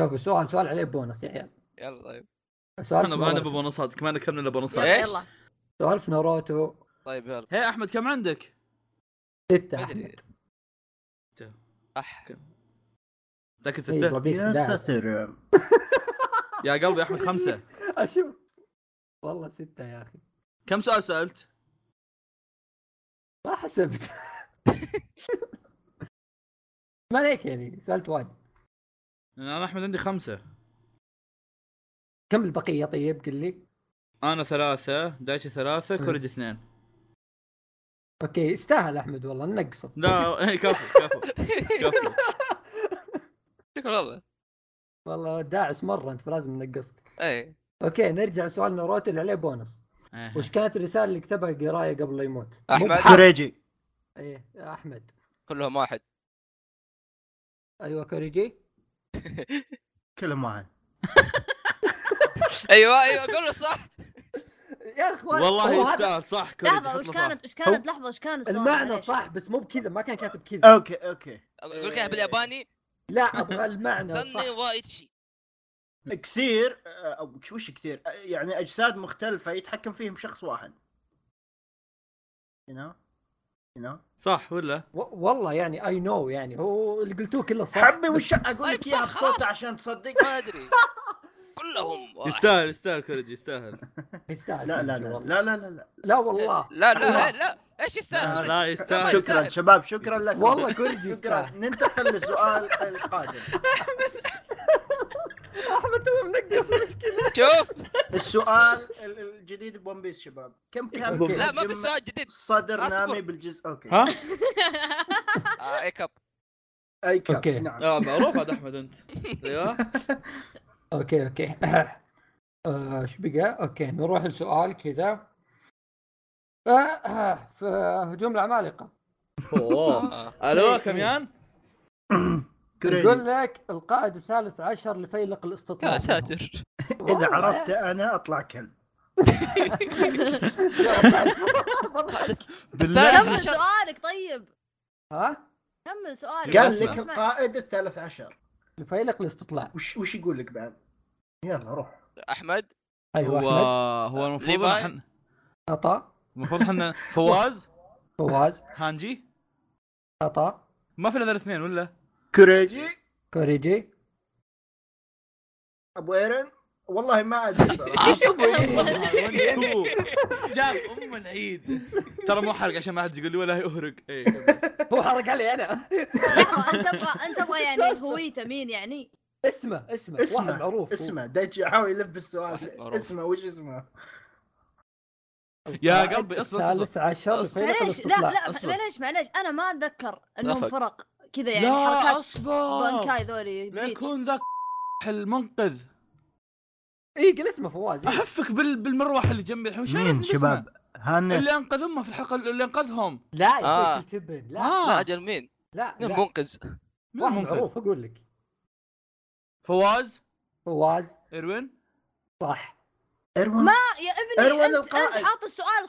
شوف سؤال سؤال عليه بونص يا عيال
يلا طيب
سؤال
انا
في
انا
ناروتو.
ببونصات كمان كملنا بونصات
يلا
إيش؟
يلا
سؤال في ناروتو
طيب يلا
هي احمد كم عندك؟
ستة إيه،
ما أدري.
احمد
أح.
متاكد
يلا
سته؟
بيك
يا
داعس.
ساتر
يا قلبي احمد خمسه
اشوف والله ستة يا اخي
كم سؤال سالت؟
ما حسبت ما عليك يعني سالت واجد
انا احمد عندي خمسه
كم البقية طيب قل لي
انا ثلاثه دايتشي ثلاثه
مم.
كوريج اثنين
اوكي يستاهل احمد والله نقصه
لا إيه، كفو كفو كفو
شكرا والله
والله داعس مرة انت فلازم ننقصك
اي
اوكي نرجع لسؤال ناروتو اللي عليه بونص
إيه.
وش كانت الرساله اللي كتبها جرايه قبل لا يموت؟
احمد
كوريجي
ايه احمد
كلهم واحد
ايوه كوريجي
كلهم واحد
ايوه ايوه قول له صح
يا اخوان
والله
هو هذا-
يستاهل صح كوريجي،
لحظه
حط
وش
له صح.
كانت وش كانت لحظه وش كان السؤال
المعنى
معليش؟
صح بس مو بكذا ما كان كاتب كذا
اوكي اوكي
قول كذا بالياباني
لا ابغى المعنى
ظني
صح
وايتشي
كثير آه، او مش- وش كثير آه، يعني اجساد مختلفه يتحكم فيهم شخص واحد هنا هنا
صح ولا؟
و- والله يعني اي نو يعني هو اللي قلتوه كله صح
حبي
بس-
وش اقول لك
طيب
اياها
صح،
بصوته
خلاص.
عشان تصدق
ما ادري كلهم واحد
يستاهل يستاهل كوريجي يستاهل
يستاهل
لا لا
كل شيء
لا
والله.
لا لا لا لا
لا لا
لا والله
لا ايش
لا
يستاهل
لا يستاهل
لا،
شكرا
يستاهل.
شباب شكرا لكم
والله كوريجي
شكرا
يستاهل
ننتقل للسؤال القادم
احمد تو منقص مشكله
شوف
السؤال ال- الجديد بون بيس شباب كم كان
أوكي.
لا ما في سؤال جديد
صدر
أصبر.
نامي بالجزء اوكي
ها؟
آه، ايك اب
اي كم
أوكي.
نعم
آه، معروف عاد احمد انت ايوه
اوكي اوكي آه، ايش بقى؟ اوكي نروح لسؤال كذا آه، في هجوم العمالقه
اوه
آه.
الو كم يان؟
يقول لك القائد الثالث عشر لفيلق الاستطلاع
يا ساتر
والله.
اذا عرفت انا اطلع كلب
بالله
كمل سؤالك طيب
ها؟
كمل سؤالك
قال
أسمع.
لك القائد الثالث عشر
لفيلق الاستطلاع
وش وش يقول لك بعد؟ يلا روح
احمد
ايوه
هو
احمد
هو المفروض
ليفاي.
إن إحنا-
خطا
المفروض احنا فواز
فواز
هانجي
خطا
ما في الا الاثنين ولا؟
كوريجي
كوريجي
ابو ايرن والله ما ادري صراحه
ايش يبغى؟
وانتو. جاب ام العيد ترى مو حرق عشان ما حد يقول لي ولا يهرق إيه. اي
هو حرق علي انا
لحظه انت تبغى انت تبغى يعني هويته مين يعني؟
اسمه اسمه
اسمه.
واحد معروف
اسمه دايتشي يحاول يلف
واحد
السؤال
معروف.
اسمه وش اسمه؟
يا
القائد
قلبي، اصبر،
الثالث عشر
اصبر.
لفيلق
معليش لا
الاستطلاع
لا
أصبر.
معليش معليش انا ما اتذكر انهم
أخك.
فرق كذا يعني
لا
حركات
اصبر
بانكاي ذولي
لا
بليتش.
يكون ذاك المنقذ
اي قل اسمه فواز
آه.
إيه.
احفك بال... بالمروحه اللي جنبي الحين وش عارف
مين
اسمه؟
شباب؟ هانس
اللي انقذ امه في الحلقه اللي انقذهم
لا
آه.
يا اخوي تبن لا
آه.
لا اجل مين؟
لا
مين
لا
منقذ؟
مين
واحد
المنقذ؟
معروف اقول لك
فواز
فواز
ايروين
صح
اروان
آه، يا ابني
أروى
انت,
القائد.
أنت حاط السؤال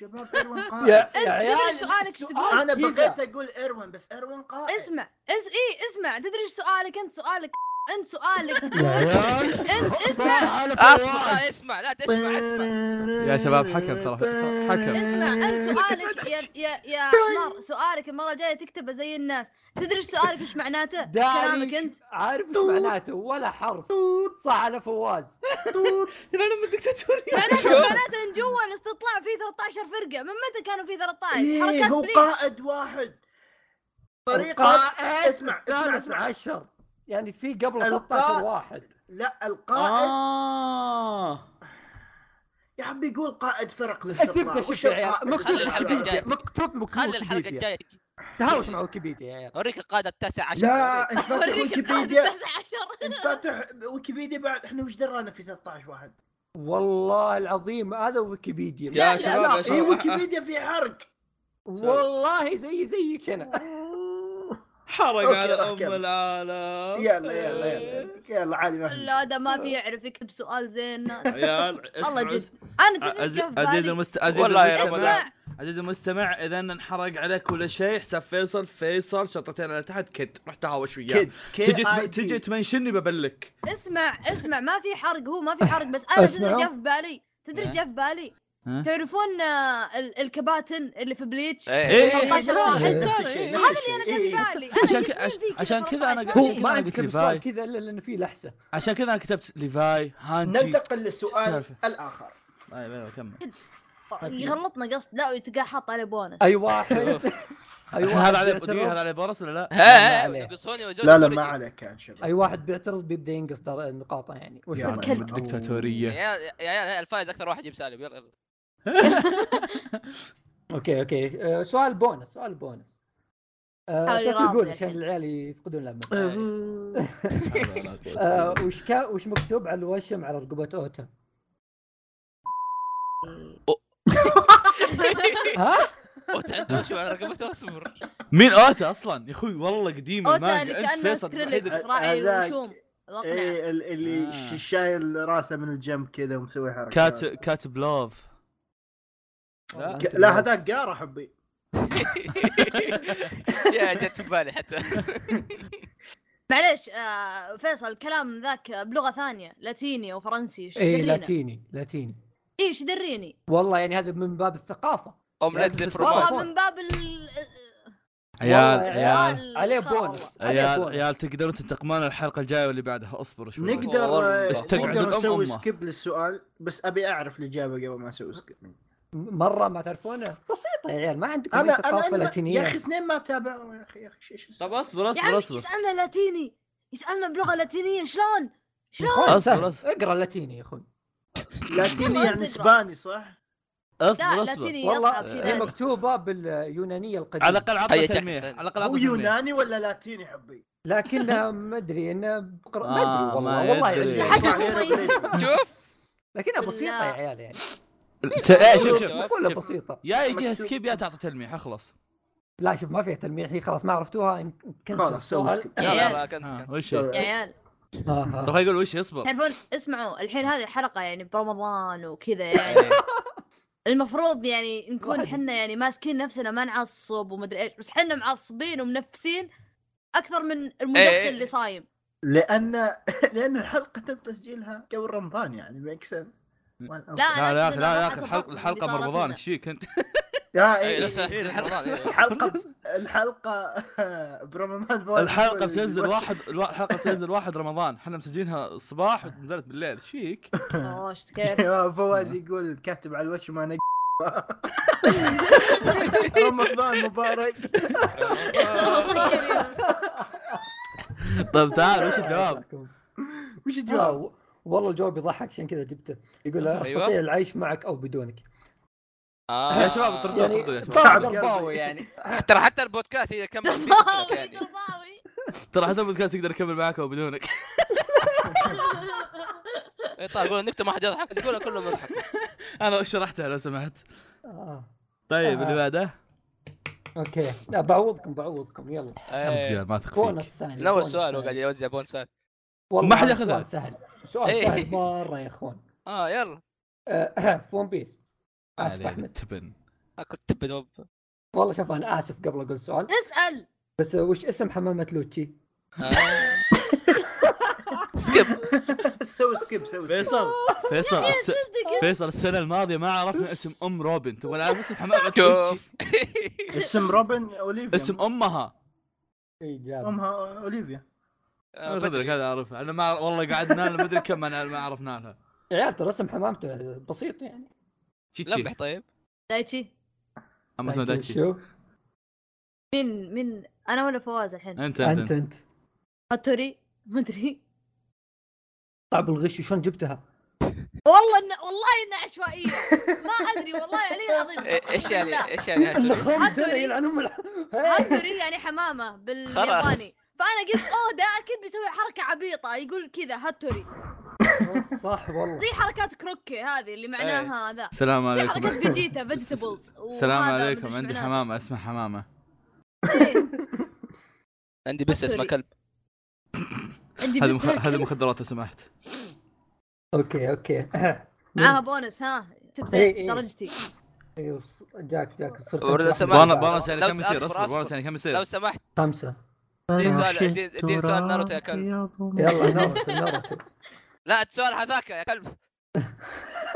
شباب اروان قائد
يا
آه. أنت تدري سؤالك إيش
السؤال
تقول؟
انا
كذا.
بغيت اقول اروان بس اروان قائد
اسمع اس اي اسمع تدري ايش سؤالك انت سؤالك انت سؤالك
يا عيال.
انت اسمع
آه،
اصبر لا اسمع لا تسمع اسمع
يا شباب، حكم ترى، حكم.
اسمع انت سؤالك يا يا يا
طيب.
مار سؤالك المره الجايه تكتبه زي الناس تدري ايش سؤالك ايش معناته؟
داري
كلامك انت
عارف ايش معناته ولا حرف صح على فواز
انا من الدكتاتوريه
معناته
شوف.
معناته ان جوا الاستطلاع في 13 فرقه من متى كانوا في 13؟
ايه
حركات
هو
بليتش.
قائد واحد طريقة
القائد
اسمع، اسمع،
الثالث
اسمع.
عشر يعني في قبل
القائد.
13 واحد
لا
آه.
القائد
اه
يا حبي يقول قائد فرق
الزبده
للسطح
شوف يا عيال مكتوب
خلي الحلقة
ويكيبيديا
الجاية.
مكتوب مكتوب
خلي الحلقه
ويكيبيديا.
الجايه
تهاوش مع ويكيبيديا يا عيال
اوريك القاعده التاسع عشر
لا انت فاتح
أوريك
ويكيبيديا
19.
انت فاتح ويكيبيديا بعد احنا وش درانا في 13 واحد
والله العظيم هذا ويكيبيديا ما
يا
له
شباب، يا
علاقة.
شباب.
اي إيه، ويكيبيديا في حرق
والله زي زيك انا
حرق
أوكي،
على
راح
ام
كمل.
العالم
يلا يلا يلا يلا عادي ما في
لا ده ما في يعرف يكتب سؤال زي الناس
عيال اسمع
والله جد
عز-
انا تدري إيش
عز-
جا في
عزيز
بالي؟
المست... عزيز
والله يا رب
المستمع
العالمين.
اسمع
عزيز المستمع اذا انحرق عليك ولا شيء حساب فيصل فيصل شرطتين على تحت كد رحت تهاوش وياه
كيد
تجي
كيد
تم... تجي تمنشني ببلك
اسمع اسمع ما في حرق هو ما في حرق بس انا تدري إيش
أسمعه.
جا في بالي تدري إيش جا في بالي
إيه. ها؟
تعرفون آه، ال- الكباتن اللي في بليتش
ايه
ايه
نفس الشيء،
نفس
نفس
الشيء.
الشيء.
نفس
هذا اللي انا جا
إيه.
في بالي أنا
عشان
جت
كذا-
بالي فيه كذا
عشان كذا أنا
13.
قاعد- عشان
هو
كذا
ما
أنا
انكتب
قلت
سؤال
ليفاي.
كذا الا لان فيه لحسه
عشان كذا انا كتبت ليفاي هانجي
ننتقل للسؤال
إيه. سالفة.
الاخر
طيب ايوه كمل
يغلطنا قصد لا وتلقاه حاط عليه بونس
اي واحد اي
أيوة،
الحين هذا
واحد
عليه
بيعترض
هذا عليه بورس ولا لا؟
لا،
ها
ما عليه.
يقصوني وجود
لا لا
كوريجي.
ما عليك كان شباب
اي واحد بيعترض بيبدا ينقص در- نقاطه يعني وش
يا
رأيك؟
الكلب.
دكتاتوريه
يا عيال يا عيال الفايز اكثر واحد يجيب سالب يلا يلا
اوكي اوكي أه، سؤال بونس سؤال بونس آه،
حاول
تقول-
يراضي
قول عشان
الحين.
العيال يفقدون الامل آه،
آه،
وش كا وش مكتوب على الوشم على رقبه اوتا ها
اوت عنده وش على رقبته اصبر
مين اوتا اصلا يا اخوي والله قديم
اوتا اللي
المانجا انت
كانه
فيصل أه، الوحيد
سكريلكس
اللي-
راعي
هذاك.
الوشوم الأقنعة.
اي إيه، ال- اللي
آه.
ش- شايل راسه من الجنب كذا ومسوي حركات
كات كاتب لوف
والله
ك-
أنت
لا
الوحيد.
هذاك قاره حبي
يا جت في بالي حتى
معليش آه فيصل الكلام ذاك بلغه ثانيه لاتيني وفرنسي
إيه،
إيه، ايش
اي
درينا؟
إيه، لاتيني لاتيني
ايش دريني؟
والله يعني هذا من باب الثقافه
اومليت
لازم
دي
تتفرج.
فرومان
والله من باب ال
عيال
والله
عيال
السؤال
عليه
خرا
بونص عليه
عيال
بونص
عيال تقدرون تنتقمون الحلقه الجايه واللي بعدها اصبروا شوي
نقدر آه،
والله.
استقعد
نقدر
الأم
نسوي
أمه.
سكيب للسؤال بس ابي اعرف الاجابه قبل ما اسوي سكيب
مره ما تعرفونه بسيطه يا عيال ما عندكم
انا
أي
انا
ثقافه
أنا- يا
لاتينيه
اخي اثنين ما تابعوا يا اخي يا اخي إيش- ايش
طب اصبر
يا
اصبر
عمي
اصبر
يسالنا لاتيني يسالنا بلغه لاتينيه شلون؟ شلون؟
أخوي،
أصبر،
سهل.
أصبر.
اقرا لاتيني يا اخوي
لاتيني
ما
يعني
تقرأ.
اسباني صح؟
اصبر
لا
اصبر
لاتيني
والله
اصعب إيه، في
إيه،
هي
ذلك
مكتوبه باليونانيه القديمه
على الاقل عطنا
هيا تحت
تلميح
ثاني.
على الاقل
هو
عطنا تلميح
يوناني ولا لاتيني حبي؟
لكنها ما ادري انها بقرا ما
آه،
ادري
ما
والله والله
يدري.
يعجبني.
حتى
يطلع
هو ما
هيروغليفي.
شوف
لكنها بسيطه يا
بالله.
عيال يعني
ت- إيه، شوف شوف
شوف.
ولا بسيطه
يا يجيها
مكتوب.
سكيب يا تعطي تلميح اخلص
لا شوف ما فيها تلميح هي خلاص ما عرفتوها إن- كنسل
خلاص سوي
السؤال.
سكيب
لا لا لا كنسل
ها،
كنسل
آه، وش هي؟
يا عيال
آه،
طب
آه.
يقول وش يصبر
تعرفون اسمعوا الحين هذه الحلقه يعني برمضان وكذا يعني المفروض يعني نكون
واحد.
احنا يعني ماسكين نفسنا ما نعصب ومدري ايش بس احنا معصبين ومنفسين اكثر من
إيه.
المدخن اللي صايم
لان لان الحلقه تم تسجيلها قبل رمضان يعني ميك سنس
لا.
لا
أنا
لا يا
أقصد
اخي لا يا
الراحة
اخي الحلقه الحلقه
البطن اللي صارت
برمضان
لنا.
ايش فيك انت؟
لا
إيه،
إيه،
نفس
إيه.
إحساس رمضان، إيه.
الحلقه الحلقه برمضان فوائد
الحلقه
الفوائد
بتنزل
الوحش.
واحد الوا- الحلقه بتنزل واحد رمضان احنا مسجلينها الصباح ونزلت بالليل ايش فيك؟
اوه ايش كيف
يا فواز يقول كاتب على الوجه ما انا رمضان مبارك
إيه. يعني
طيب تعال وش الجواب؟
وش الجواب؟
آه، والله الجواب يضحك عشان كذا جبته يقول
أيوة.
استطيع العيش معك او بدونك
آه.
يا شباب اطردوه
يعني
اطردوه يا شباب
طبعا
تعب
قرباوي
قلبي.
يعني
ترى حتى البودكاست اذا كمل فيه
ضباوي،
بتكلك يعني
ضباوي.
ترى حتى البودكاست يقدر يكمل معك او بدونك
إيه، طيب قول النكته ما حد يضحك بس قولها كله مضحك
انا شرحتها لو سمحت
آه.
طيب
آه.
اللي بعده
اوكي لا، بعوضكم بعوضكم يلا
يا
إيه،
رجال ما تخفيك
بونص ثاني
من اول
بونص
سؤال
ثاني.
هو قاعد يوزع بونسات
والله
ما حد
هذا
ياخذها.
سؤال سهل سؤال
إيه.
سهل مره يا اخوان
اه يلا
آه، في ون بيس اسف
هذه
احمد
تبن
آه، كنت تبد وب-
والله شوف انا اسف قبل اقول سؤال
اسال
بس آه، وش اسم حمامه لوتشي؟
آه. سكيب
سوي سكيب سوي سكيب
فيصل فيصل الس...
صدق
فيصل السنه الماضيه ما عرفنا اسم ام روبن تبغى نعرف اسم حمامه
شوف.
توتشي.
اسم روبن اوليفيا
اسم امها
اي جاب
امها اوليفيا
آه،
خذلك
بدري.
هذا اعرفها انا ما والله قعدنا لنا مدري كم ما ما عرفنا لها
يا عيال ترى اسم حمامته بسيط يعني
تشيتشي
لمح طيب
دايتشي
اما اسمها دايتشي
شو
مين مين انا ولا فواز الحين
انت
انت
انت
انت
هاتوري مدري
طعب طيب، الغش شلون جبتها؟
والله إن... والله انها عشوائيه ما ادري والله علي العظيم
إيه،
أقسم
ايش يعني
بالله.
ايش يعني
اللي
هاتوري؟
خمت انا
هاتوري.
يلعن ام الع-
هاتوري يعني حمامه بالياباني
خلاص.
فانا قلت اوه ده اكيد بيسوي حركه عبيطه يقول كذا هاتوري
صح والله
زي حركات كروكي هذه اللي معناها ذا
إيه. السلام
زي
عليكم
حركات فيجيتا فيجيتابلز
السلام عليكم
إيه،
عندي حمامه اسمها حمامه
عندي بس اسمه
هاتوري.
كلب
عندي
هذه مخ...
بس
هذه
هيك.
مخدرات لو سمحت
اوكي اوكي
معاها بونس ها تب
إيه،
زي
إيه.
درجتي
ايوه ص- جاك جاك صرت
ورد
واحد
السماء.
بعد.
بونص بونص يعني
لو
كم يصير
أصبر-
اصبر
أصبر.
بونص يعني كم
لو
يصير
سمحت
خمسه
دي سؤال- دي- دي سؤال ناروتو يا كلب.
يلا ناروتو ناروتو
لا السؤال هذاك يا كلب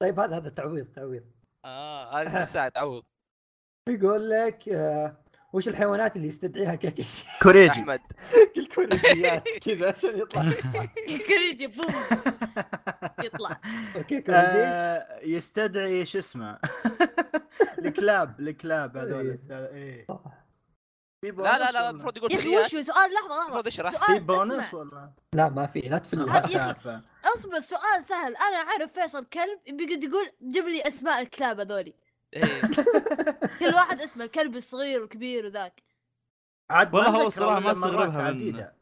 طيب هذا هذا تعويض تعويض
اه هذه الساعه تعوض
يقول لك آه، وش الحيوانات اللي يستدعيها كاكيشي؟
كوريجي
احمد
الكوريجيات كذا عشان يطلع
كريجي بوم يطلع
اوكي كوريجي
آه، يستدعي شو اسمه الكلاب الكلاب هذول إيه.
صح.
في بونص
لا لا لا
ولا؟
المفروض
يا
يقول
اخي
كوريات.
وش هو سؤال لحظه لحظه
المفروض يشرح.
في
سؤال
بونص
اسمع
ولا
لا ما في لا تفل
ما
يا أخي.
سالفه
اصبر سؤال سهل انا اعرف فيصل كلب بيقعد يقول جيب لي اسماء الكلاب هذولي
إيه.
كل واحد اسمه الكلب الصغير والكبير وذاك
عاد
والله هو
أذكر
الصراحة
إلا
ما
مرات
استغربها منه.
عديدة.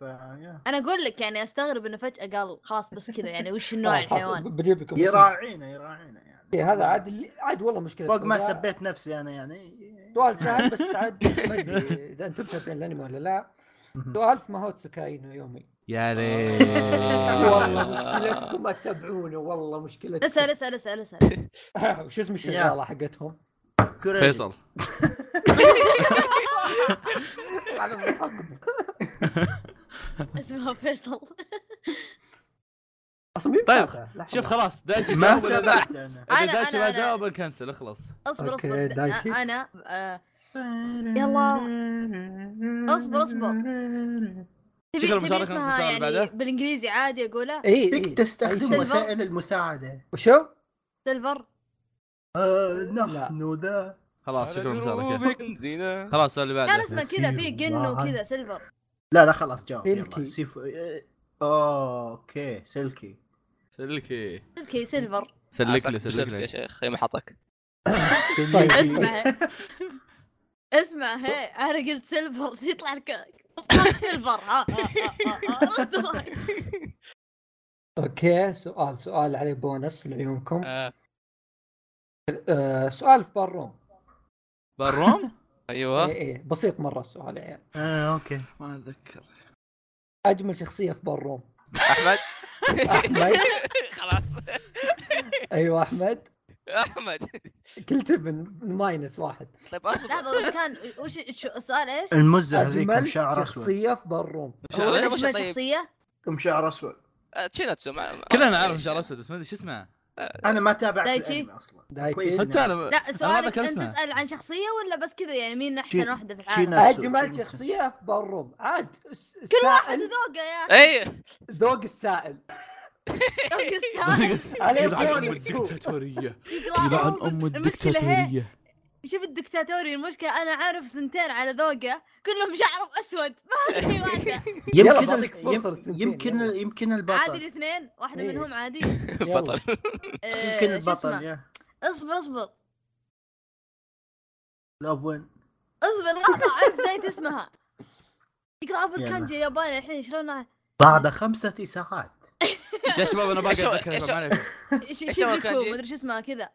فا- يا.
انا اقول لك يعني استغرب انه فجاه قال خلاص بس كذا يعني وش النوع
خلاص خلاص
الحيوان
بجيب لكم بصيص.
يراعينا يراعينا يعني
إيه، هذا عاد اللي- عاد والله مشكله
فوق ما
لا،
سبيت نفسي انا يعني
سؤال سهل بس عاد ما ادري اذا انتم متابعين الانمي ولا لا سؤال في ماهوتسو كاينو يومي يعني
يا
آه.
آه.
والله مشكلتكم ما تتابعونه والله مشكلتكم
اسال اسال اسال اسال
وش اسم الشغاله حقتهم؟
كوريجي.
فيصل
على الحقد.
اسمه فيصل
اصلا مين
طيب،
بتابعه؟ لحظة.
آه.
شوف خلاص دايجي
ما
جاوب ولا لا؟
تابعت انا
اذا
أنا-
دايجي
أنا-
ما
أنا-
جاوب نكنسل اخلص
اصبر
أوكي،
اصبر د-
دايتي.
انا آه، يلا اصبر اصبر تبي
شكرا
تبي
مشاركة في
اسمها
السؤال
يعني
بعده.
بالانجليزي عادي اقولها
اي إي.
فيك تستخدم
إيه، أي شيء.
وسائل المساعده
وشو؟
سيلفر
آه،
لا.
نحن ذا
آه،
خلاص شكرا مشاركة
زينة
خلاص السؤال اللي
كان
بعده
اسمه كذا في جن وكذا سيلفر
لا لا خلاص جاوب يلا
سلكي.
سيف آه، اوكي سلكي
سلكي
اوكي سيلفر
سلك له سلك
يا
له
شيخ ما حطك
طيب.
إيه.
اسمع اسمع هي انا قلت سيلفر يطلع لك سيلفر آه، ها ها ها ها عرفت رايك.
اوكي سؤال سؤال عليه بونس لعيونكم
آه.
آه سؤال في بالروم
بالروم؟
اي
ايوه
اي بسيط مره السؤال يا عيال
اه اوكي
ما اتذكر
اجمل شخصيه في بالروم
احمد
احمد
خلاص
ايوه احمد
احمد
كلت من ماينس واحد
طيب اصبر
لحظه بس كان وش شو- السؤال ايش؟
المزه هذيك
اجمل
مشعر اسود
شخصيه في بالروم
شعر
أوه،
إيش؟
وش
اسمه
طيب؟
شخصيه؟
مشعر اسود
آه، تشيناتسو ما ما-
كلنا نعرف شعر اسود بس ما ادري شو اسمه
انا ما تابعت
دايتشي.
الانمي اصلا
دايتشي
كويس.
انت انا
لا
ما
سؤالك
كان
انت
اسمه.
تسال عن شخصيه ولا بس كذا يعني مين احسن
شي-
واحد في
شي
العالم؟
ناس.
اجمل شخصيه في بالروم عاد الس-
واحد
السائل
ذوقه يا اخي
ايه
ذوق السائل
ذوق السؤال
عليه
يلعن أم آه،
بونس هو.
الدكتاتورية
يقرأ
يلعن
روم.
أم
المشكلة هي-
الدكتاتورية
شوف الدكتاتوري المشكله انا عارف ثنتين على ذوقه كلهم شعرهم اسود ما في واحده
يلا
يمكن
بعطيك فرصة
يم-
للثنتين،
يمكن
يلا.
يمكن
عادي
البطل
الاثنين واحده
إيه.
منهم عادي
يلا.
بطل
آه،
يمكن
شو اسمه؟
البطل يا
اصبر اصبر
لاف وين
اصبر لحظه عرفت بدايه اسمها يقرا ابو
يلا.
الكانجي الياباني الحين شلون
بعد خمسة ساعات
يا شباب أنا
إيش هو-
باقي أتذكر
إيش
ما عليكم
ش-
إيش هو
شيزوكو
الكانجي؟
مدري شو اسمها كذا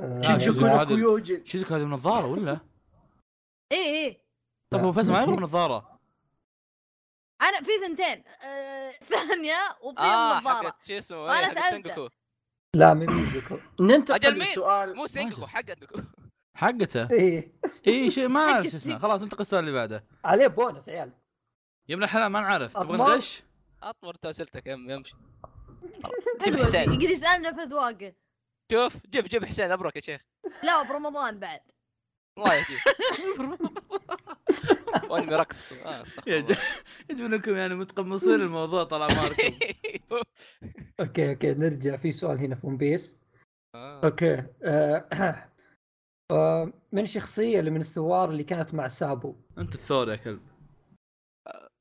آه،
شوف
يلا.
آه،
هذا-
لك يوجد
شيزوكو هذه منظارة ولا؟
اي اي
طب هو فاز ما يبغى منظارة
انا في ثنتين آه، ثانيه وفي
اه
النظاره
حقت شو اسمه
وأنا
إيه، حقت
سألته.
سينجوكو
لا من ميوزيكو
ننتقل
أجل مين؟
للسؤال
مو سينجوكو حقت سينجوكو
حقته
ايه
اي شيء ما اعرف شو
حقتي.
اسمه خلاص انتقل السؤال اللي بعده
عليه بونس يا عيال
يا ابن الحلال ما نعرف تبغى
أطمر؟
ندش؟
اطمر توسلتك يم يمشي
حلوه
حسين.
يقدر يسالنا في اذواقه
شوف جيب جيب حسين ابرك يا شيخ
لا برمضان بعد
الله يهديك وانمي رقص آه، استغفر
يا
الله.
يجب انكم يعني متقمصين الموضوع طلع ماركم
اوكي اوكي نرجع في سؤال هنا في ون بيس اوكي آه، آه، من الشخصيه اللي من الثوار اللي كانت مع سابو
انت الثور يا كلب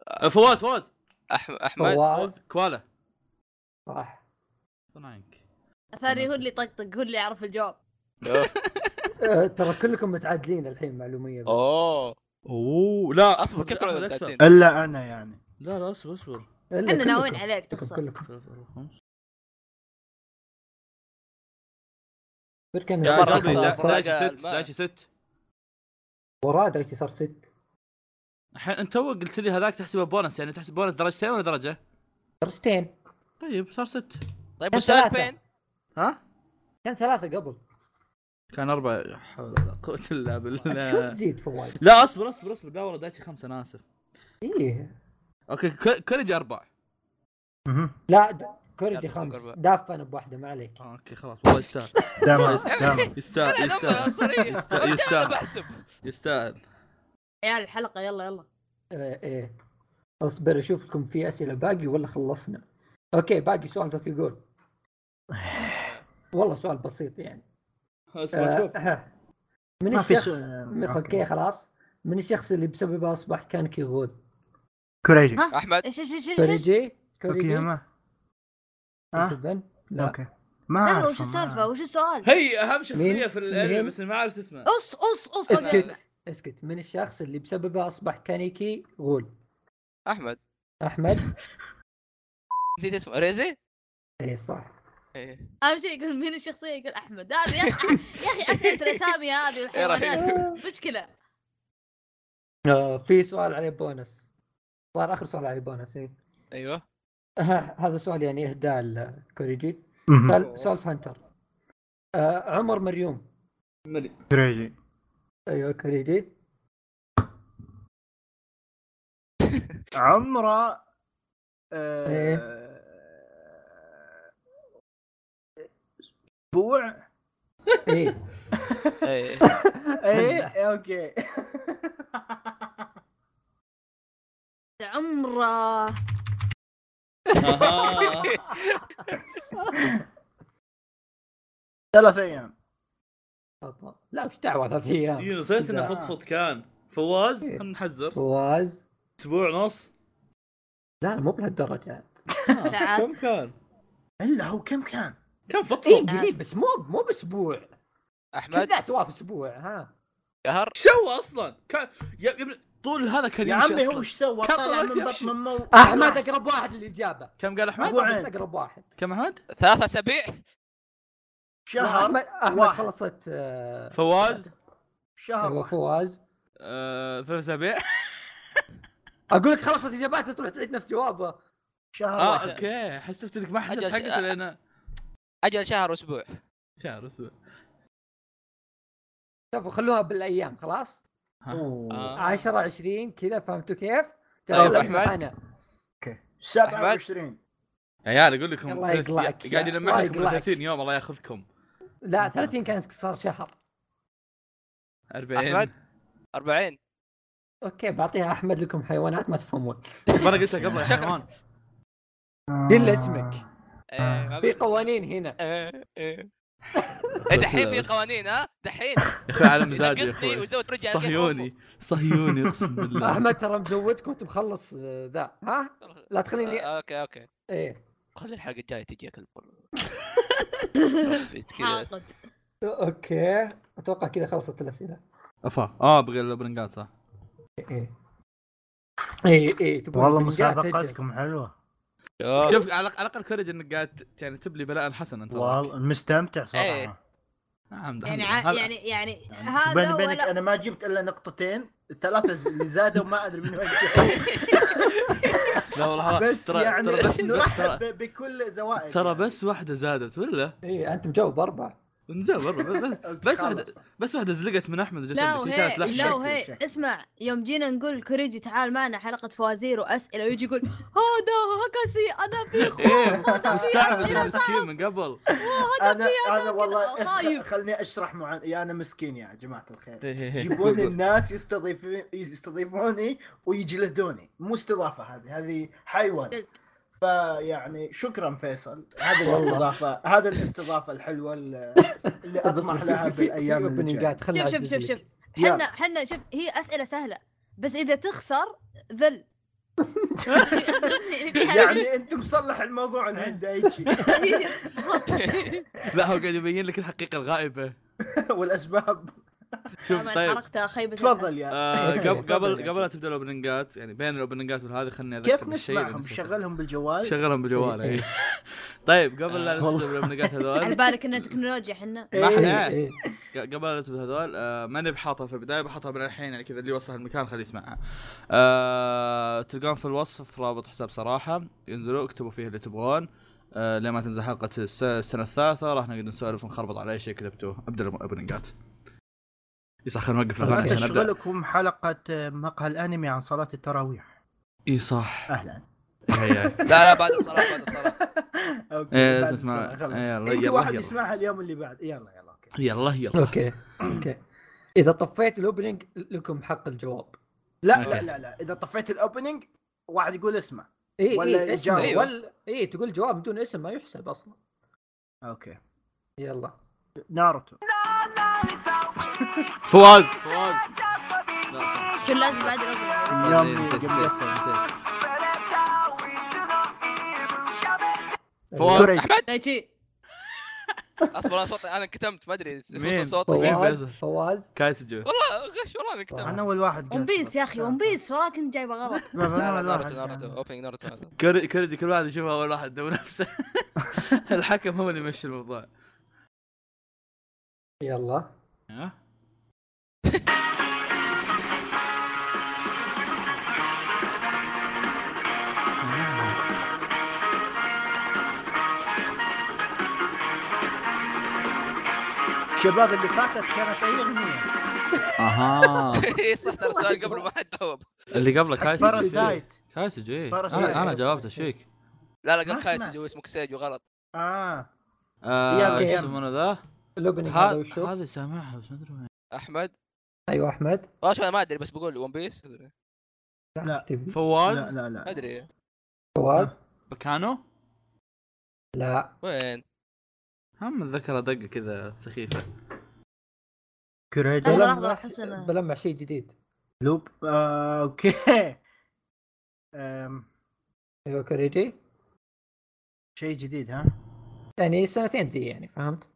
آه، فواز فواز
أح- احمد
فواز
كوالا
صح
صنعينك
ثاني هو اللي طقطق هو اللي يعرف الجواب
آه، ترى كلكم متعادلين الحين معلوميه بس.
اوه
اوه لا
اصبر كيف
أحمد
كنا
أكثر.
متعدين
الا انا يعني
لا لا اصبر اصبر
إلا
احنا ناويين
كلكم.
عليك
كلكم
تخسر
كلكم
ثلاثة، أربعة، خمسة.
غير كان
يا
مرة
قلبي،
أخرى.
دا-
صار-
صراحة
صار-
دايتشي ست
الماء.
دايتشي ست
وراه دايتي صار ست
الحين انت تو قلت لي هذاك تحسبه بونس يعني تحسب بونس درجتين ولا درجه؟
درجتين
طيب صار ست
طيب
كان
والسؤال
ثلاثة.
فين؟
ها؟
كان ثلاثه قبل
كان اربع لا حول ولا قوه الا
شو
بالله
تزيد فواز
لا اصبر اصبر اصبر لا والله دايتشي خمسه انا اسف
ايه
اوكي ك- كوريجي اربع
مهم.
لا د- كوريجي
أربعة
خمس
أربعة.
دافه انا بواحده ما عليك
آه، اوكي خلاص والله يستاهل
دام دام
يستاهل
لا، لا،
يستاهل
عنصرية.
يستاهل
انا
يستاهل
بحسب
يستاهل
عيال الحلقه يلا يلا
ايه ايه اصبر اشوف لكم في اسئله باقي ولا خلصنا اوكي باقي سؤال توكي جول والله سؤال بسيط يعني
اصبر شوف
آه من
ما في
الشخص
سؤال.
من- اوكي خلاص من الشخص اللي بسببه اصبح كان كيغول
كوريجي آه.
ها؟
احمد
ايش ايش ايش ايش
كوريجي
اوكي
كوريجي
ما ها
تبدأ؟ لا
اوكي ما
لحظه
أعرفه،
وش
ما
السالفه
أعرف.
وش السؤال؟
هي اهم شخصيه
مين؟
في الانمي
مين؟
بس ما عارف اسمه
اص اص اص أنا
اسكت اسكت من الشخص اللي بسببه اصبح كانيكي غول
احمد
احمد
نسيت اسمه ريزي؟
اي إيه، صح إيه.
ايه
اهم شيء يقول مين الشخصيه يقول احمد هذا يا اخي يا اخي اسئله الاسامي هذه
إيه رهيب.
والحيوانات مشكله
آه في سؤال عليه بونس صار اخر سؤال عليه بونس اي
ايوه
هذا سؤال يعني اهداء لكوريجي
مهم.
سؤال- سؤال هانتر آه عمر مريوم
كريجي
ايوه كوريجي
عمره آه،
إيه.
اسبوع
اي
ايه
ايه اوكي
عمره
أها.
ثلاث ايام
خطأ. لا وش دعوه ثلاث ايام
إيه، نسيت انه
إذا-
فضفض كان فواز
إيه.
خلنا نحزر
فواز
اسبوع ونص
آه،
لا مو بهالدرجه
آه،
ساعات. إيه.
كم كان؟
الا هو كم كان؟
كم
اي
فضفض؟
إيه، قليل بس مو مو باسبوع
احمد
كذا سواه في اسبوع ها
قهر
شو اصلا؟ كان يا يا ابن- طول هذا كان
يا
يمشي
عمي هو
أصلاً.
ايش سوى؟
كم
طلع
طلعت
من
يمشي؟
بطن امه و-
احمد اقرب واحد للاجابه
كم قال احمد؟
أبو
احمد
عين.
بس اقرب واحد
كم احمد؟
ثلاث اسابيع
شهر
احمد احمد
واحد.
خلصت آه،
فواز
شهر
أيوة،
واحد.
فواز
آه، ثلاث اسابيع
اقول لك خلصت اجاباته تروح تعيد نفس جوابه
شهر
اه
واحد
اوكي حسبت انك ما حسبت
أجل،
حقته
آه.
لان
اجل شهر واسبوع
شهر اسبوع
شوفوا خلوها بالايام خلاص
أوه.
آه.
10 20 كذا فهمتوا كيف؟
طيب،
تعال
أحمد.
معنا.
اوكي
أحمد.
27
عيال اقول لكم
الله
ثلاث-
يقلعك يا-
قاعد
الله
يلمع لكم
يقلعك.
30 يوم الله ياخذكم
لا 30 كان صار شهر
40
أحمد؟ 40
اوكي بعطيها احمد لكم حيوانات ما تفهمون
ما انا قلتها قبل يا حيوان
قل اسمك
إيه، ما
في
أقول-
قوانين هنا
آه،
إيه، إيه. إيه، دحين في قوانين ها دحين
يا اخوي على مزاجي يا
ينقصني
اخوي
وزود رجع
صهيوني صهيوني اقسم بالله
احمد ترى مزودك وانت مخلص آه، ذا ها لا تخليني
اوكي اوكي
ايه
خلي الحلقه الجايه تجيك البر كذا
حاقد
اوكي اتوقع كذا خلصت الاسئله
افا اه بغير البرنقات صح
ايه ايه ايه تبغى
والله
البنجات تجي.
مسابقاتكم حلوه آه.
شوف
شوف على على الاقل كوريج انك قاعد ت- يعني تبلي بلاء حسنا انت
والله مستمتع صراحه
إيه.
نعم، الحمد
يعني
الحمد
ع-
لله.
يعني يعني
يعني
هذا
بيني بينك
ولا
انا ما جبت الا نقطتين الثلاثه ز- اللي زادوا ما ادري من وين جاوا.
لا والله
بس
ترى
يعني
ترى بس
نرحب
ترى
ب- بكل زوائد
ترى
يعني.
بس واحده زادت ولا
ايه انت مجاوب اربع
نجاوب والله بس
أوكي،
بس
خلاص.
واحده بس واحده زلقت من احمد وجت
لا
عندك. هي
وهي
كانت
لا
لحظه
وهي
شكل- شكل.
اسمع يوم جينا نقول كوريجي تعال معنا حلقه فوازير واسئله ويجي يقول هذا هكسي انا في
ايه
خوف هذا في
مستعبد
اسئله صعبة.
المسكين من قبل
انا انا والله
كده
أش-
خايف.
خلني اشرح مع يا انا مسكين يا جماعه الخير
إيه إيه إيه.
يجيبون الناس يستضيفون يستضيفوني ويجلدوني مو استضافه هذه هذه حيوان
جلد.
فيعني شكرا فيصل هذه الاستضافه هذا الاستضافه الحلوه اللي اللي اطمح لها بالايام اللي جاية.
الجايه
شوف شوف شوف شوف
يلا.
حنا حنا شوف هي اسئله سهله بس اذا تخسر ذل
يعني انت مصلح الموضوع اللي عنده اي شيء
لا هو قاعد يبين لك الحقيقه الغائبه
والاسباب
شوف طيب
حركتها خيبه
تفضل يا
آه، قبل
تفضل
قبل
يا
قبل لا تبدا الاوبننجات يعني بين الاوبننجات والهذه خلني اذكر
كيف
بالشيء اللي
نسمعهم
نسيته.
شغلهم بالجوال
شغلهم بالجوال إيه. طيب قبل لا
آه،
نبدا
والله. إيه،
بالاوبننجات
على
هذول
بالك انها تكنولوجيا حنا
ما إحنا-
ايه
ق- قبل لا نبدا هذول آه، ماني بحاطها في البدايه بحطها من الحين يعني كذا اللي وصل المكان خليه يسمعها. آه، تلقون في الوصف رابط حساب صراحه ينزلوا اكتبوا فيه اللي تبغون آه، لما تنزل حلقه الس- السنه الثالثه راح نقعد نسولف ونخربط على اي شيء كتبتوه ابدا الاوبننجات. يسا خلينا نوقف
لا
الاغاني عشان ابدا.
تشغلكم حلقه آه، مقهى الانمي عن صلاه التراويح
اي صح.
اهلا
هي هي.
لا لا بعد الصلاه بعد الصلاه
اوكي
إيه،
بعد
اسمع.
الصلاة، خلاص.
إيه، يلا،
يمكن
يلا،
واحد
يلا.
يسمعها اليوم اللي بعد يلا يلا اوكي
يلا يلا.
اوكي اوكي اذا طفيت الاوبننج لكم حق الجواب
لا
أوكي.
لا لا لا اذا طفيت الاوبننج واحد يقول اسمه
اي
ولا
اي اسم
إجابة.
ولا اي تقول جواب بدون اسم ما يحسب اصلا
اوكي
يلا
ناروتو
فواز فواز لا صح.
كل
آه.
لازم بعد الأغنية.
والله
يوم
نسيت-
قبل
نسيت-
يوم.
نسيت.
أيوة.
فواز
كوريجي.
احمد
دايتشي
اصبر انا صوتي انا كتمت ما ادري
مين؟
وصل صوتي
مين
والله
فواز
فيصل؟
فواز
كايسجو
غش والله انا كتمت
انا اول واحد
ون
قلت.
بيس يا اخي ون بيس وراك انت جايبه غلط
لا، لا،
لا
أنا
لا
أول
ناروتو
واحد.
ناروتو اوبننج ناروتو هذا
كوري كوريجي كل واحد يشوفها اول واحد دو نفسه الحكم هو اللي يمشي الموضوع
يلا
ها؟
الشباب اللي فاتت كانت اي اغنيه
اها
اي إيه، صح ترى السؤال قبل ما حد جاوب
اللي قبله كايسجو
باراسايت
كايسجو ايه
Parasite.
انا انا جاوبت ايش فيك؟
لا لا
ما
قبل خايس
سمعت.
جو اسمه كسيجو غلط
اه
آه،
يلا،
ايش
يلا.
يسمونه ذا؟
لبني هذا
هذا
وشو
هذا سامعها بس ما ادري وين.
احمد
ايوه احمد
والله شو انا ما ادري بس بقول ون بيس ما
لا.
إيش تبي؟
لا
فواز
لا لا
ادري
فواز
بكانو
لا
وين
هم اتذكرها دقه كذا سخيفه
كوريجي
لحظة،
بلمح-
لحظة، أحس أنا-
بلمح شيء جديد
لوب آه، اوكي آم،
ايوه كوريجي
شيء جديد ها
يعني سنتين ذي يعني فهمت؟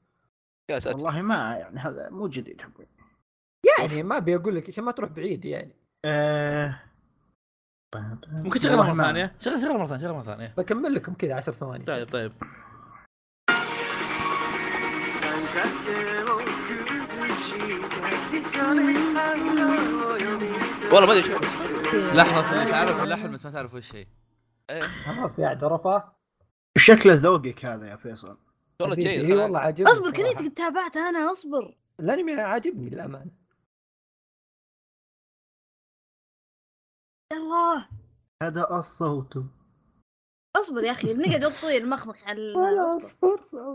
يا ساتر
والله ما يعني هذا مو جديد حقي
يعني ما ابي اقول لك عشان ما تروح بعيد يعني
آه،
ممكن تشغلها مره
والله ما-
ثانيه شغل شغل مره ثانيه شغل مره ثانيه
بكمل لكم كذا 10 ثواني
طيب طيب
والله ما ادري شو
لحظه اني تعرف اللحن بس ما تعرف وش هي
خلاص يا عرفه
شكله ذوقك هذا يا فيصل
والله جيد
اي
خلاص.
والله عاجبني
اصبر
صراحة.
كنيت قد تابعت انا اصبر
الانمي عاجبني للامانه
يا الله
هذا الصوت
اصبر يا اخي بنقعد وقت طويل مخمخ على ال- اصبر
فرصه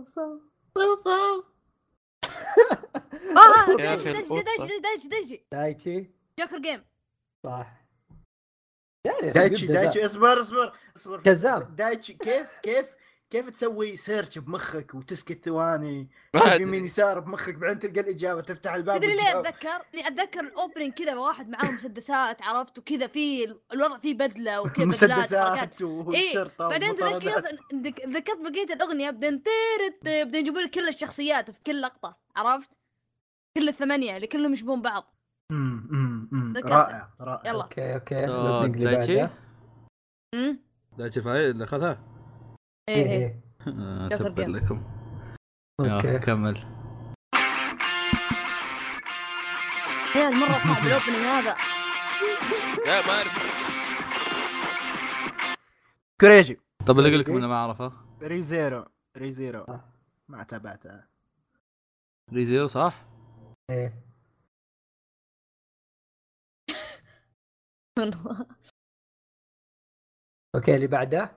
وصل
اه
يا أخي
دجي دجي
القطة.
دجي دجي دجي
دايتشي
جوكر جيم
صح يعني
دايتشي
يبدأ ذا.
دايتشي اصبر اصبر اصبر
جزام.
دايتشي كيف كيف كيف تسوي سيرش بمخك وتسكت ثواني
ما
تشوف
أدري.
يمين يسار بمخك بعدين تلقى الاجابه تفتح الباب
تدري ليه
وتجاوب.
اتذكر؟ ليه اتذكر الاوبننج كذا واحد معاه مسدسات عرفت وكذا في الوضع فيه بدله وكذا بدلات وحركات.
مسدسات والشرطه
إيه، بعدين
والمطاردات.
تذكرت ذكرت بقيه الاغنيه بعدين تيرت بعدين يجيبوا لك كل الشخصيات في كل لقطه عرفت؟ كل الثمانيه اللي كلهم يشبهون بعض
أمم، أمم، أمم.
ذكرت.
رائع رائع
يلا
اوكي اوكي
So,
نبدأ اللي
دايتشي؟
بعده.
امم
دايتشي فاي اللي اخذها
إيه،
ايه ايه
إيه.
آه،
شغل
تبا
game.
لكم يلا،
اوكي
كمل
عيال مره صعب الاوبننج هذا
يا ما اعرف
كريجي
طب اللي اقول لكم انه ما اعرفه
ريزيرو ريزيرو
آه.
ما تابعتها
ريزيرو صح؟
إيه. اوكي اللي بعده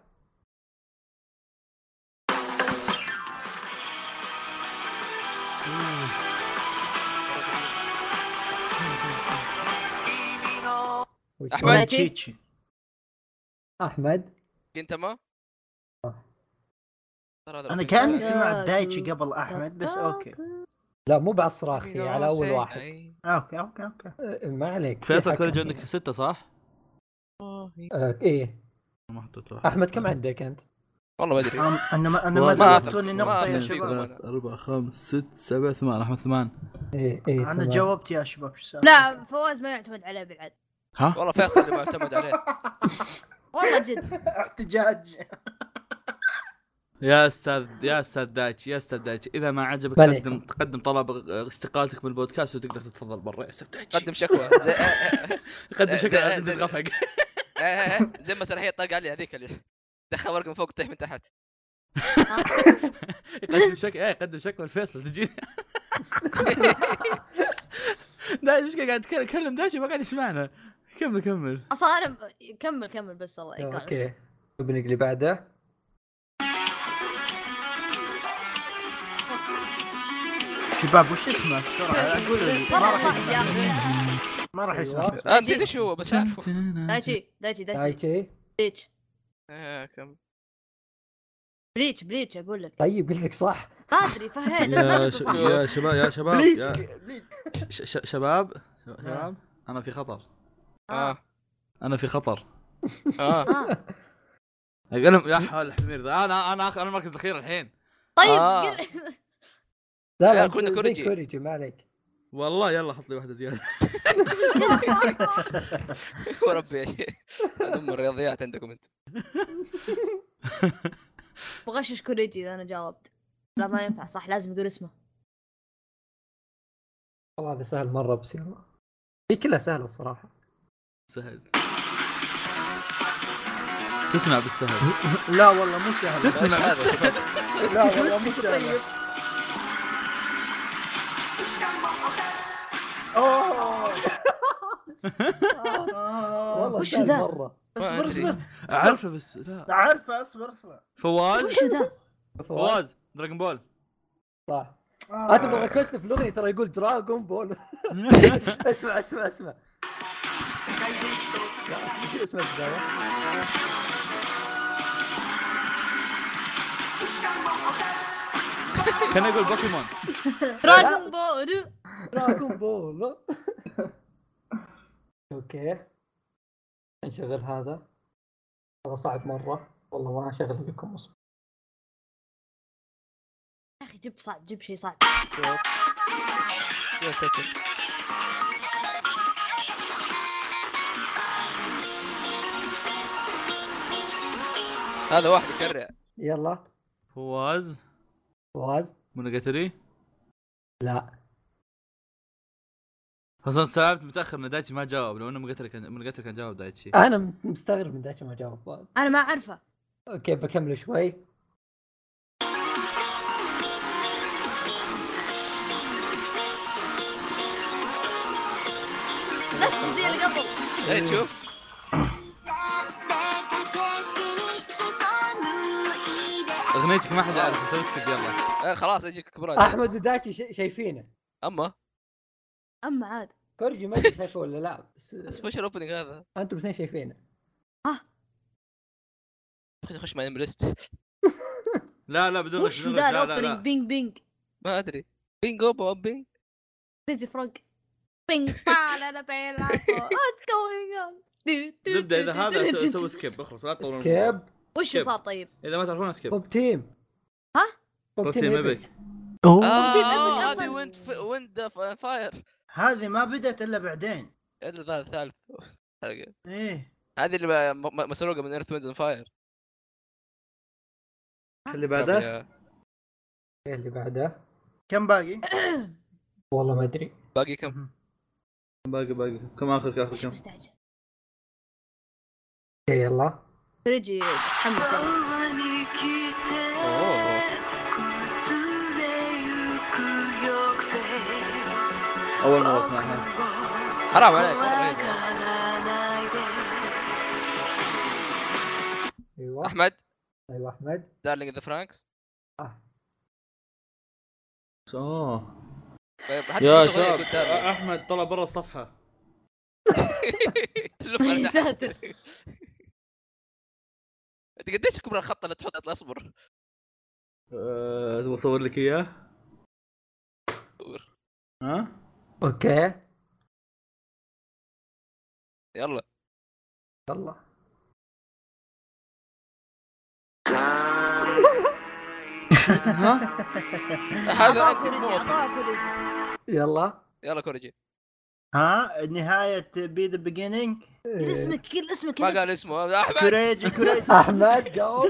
وش
أحمد.
هو؟
دايتشي.
تشيتشي
احمد
انت ما ترى هذا
انا
رهيب.
كاني
يا
آه.
سمعت دايتشي قبل احمد بس اوكي
لا مو بعصراخي على اول
إيه، سيد.
واحد
أي.
اوكي اوكي اوكي
أه، ما عليك
فيصل
كل
كوريج عندك سته صح؟
ايه
ما حطيت واحد
احمد كم عندك انت؟
والله ما ادري
أم- انا ما انا
واحد.
ما
ما
زودتوني
أثق.
نقطه
ما
يا
أثق.
شباب
ثلاث اربع خمس ست سبع ثمان احمد ثمان
ايه ايه
انا
تمام.
جاوبت يا شباب شو السالفة؟
لا فواز ما يعتمد عليه بالعد
ها؟
والله فيصل اللي معتمد عليه
والله جد
احتجاج
يا استاذ يا استاذ دايتشي يا استاذ دايتشي اذا ما عجبك
بلي.
قدم قدم طلب استقالتك من البودكاست وتقدر تتفضل برا يا استاذ دايتشي
قدم شكوى زي- آه،
قدم شكرا
زي-
على
زي-
الغفق
آه، آه، آه، زي مسرحيه طاق علي هذيك اللي دخل ورقه من فوق تطيح من تحت
قدم شكوى ايه قدم شكوى الفيصل تجيني دايتشي مش قاعد يتكلم- يكلم دايتشي ما قاعد يسمعنا كمل كمل
اصلا انا ب- كمل كمل بس الله يقطع
اوكي ابنك اللي بعده
شباب وش اسمه بسرعه اقول ما
مرة
راح
صح
يسمع
يا اخي
ما راح يسمع
أيوة.
آه، نسيت ايش هو بس اعرفه
دايتشي دايتشي دايتشي
دايتشي
بليتش
آه، كم
بليتش بليتش اقول لك
طيب قلت لك صح
ما ادري فهيت ما كنت صح.
يا
شباب يا شباب
بليج بليج
شباب شباب انا في خطر
اه
انا في خطر
اه
آه.
اقلم يا حول الحمير ذا انا انا انا المركز الاخير الحين
طيب
آه.
قل-
لا
لا،
لا
كنا
كنا
كوريجي.
كوريجي كوريجي ما عليك
والله يلا حط لي واحده زياده
وربي يا شيخ ام الرياضيات عندكم انتم
بغشش كوريجي اذا انا جاوبت لا ما ينفع صح لازم يقول اسمه
والله هذا سهل مره بس يلا هي كلها سهله الصراحه
سهل تسمع بالسهل
لا والله مو سهل
تسمع
إيش هذا
بالسهل
لا
يا شباب؟
والله مو سهل اوه آه.
والله
وش
سهل
ذا؟
مره
اصبر اصبر
اعرفه بس لا
عارفه اصبر اصبر
فواز
شو ذا؟
فواز
فواز دراجون بول
صح
آه.
هذا آه. ركزت في الاغنيه ترى يقول دراغون بول اسمع اسمع اسمع لا، اسمع- اسمع البدايه
كان يقول بوكيمون
دراجون بول
دراغون بول اوكي نشغل هذا هذا صعب مره والله ما اشغل لكم اصبر
يا اخي جيب صعب جيب شيء صعب
يا ساتر هذا واحد إيه، يكرع
يلا
فواز
فواز
مونوجاتري
لا
اصلا استوعبت متاخر ان دايتشي ما جاوب لو انه مونوجاتري كان مونوجاتري كان جاوب دايتشي
انا م- مستغرب من دايتشي ما جاوب
انا ما اعرفه
اوكي بكمل شوي
نفس زي اللي قبل
هاي
إيه.
تشوف
اغنيتك ما حد يعرف نسوي سكيب يلا
آه خلاص يجيك كبرات
احمد ودايتشي شا- شايفينه
اما
اما عاد
كورجي ما ادري شايفه ولا لا بس
بس وش الاوبننج هذا؟
انتم الاثنين شايفينه
خش خش مع ليست
لا لا بدون
وش
غش، بدون
ذا
غش، لا لا
الاوبننج
لا
بينج بينج
ما ادري بينجو بوب بينج
كريزي فروج بينج Oh, بال انا بين واتس جوينج اون
زبده اذا هذا سو- سوي سكيب اخلص لا تطولون
سكيب
وش
سكيب.
صار طيب؟
اذا ما تعرفون سكيب
بوب تيم
ها؟
بوب تيم ايبك
اوه
طيب،
اه
أبد
هذه
أصلاً.
ويند ويند فاير
هذه ما بدت الا بعدين
الا ذا الثالث حلقة.
ايه
هذه اللي م- م- مسروقه من ايرث ويند فاير
اللي بعده
إيه اللي بعده
كم باقي؟
والله ما ادري
باقي كم؟
باقي باقي كم اخر كم آخر
وش
كم
مستعجل؟
إيه يلا
كريجي متحمس يلا.
اوه
اول مره اسمعها
حرام عليك مرة رهيبة.
ايوه
احمد
ايوه احمد
دارلينج ذا فرانكس
اوه
طيب حتى
يا
في شغلة
شباب
يقول دارلينج.
احمد طلع برا الصفحه
اللفة اللي
يا
تحت.
ساتر.
انت قديش كبر الخط اللي تحط اصبر
أه، تبغى اصور لك اياه
صور.
ها
اوكي
يلا
يلا
ها
هذا
أعطاه
انت
كوريجي،
مو
أعطاه كوريجي.
يلا
يلا كوريجي
ها نهاية بي ذا بيجينينج
كل اسمك كل اسمك
ما
كل-
قال اسمه احمد
كوريجي كوريجي
احمد إيه. جاوب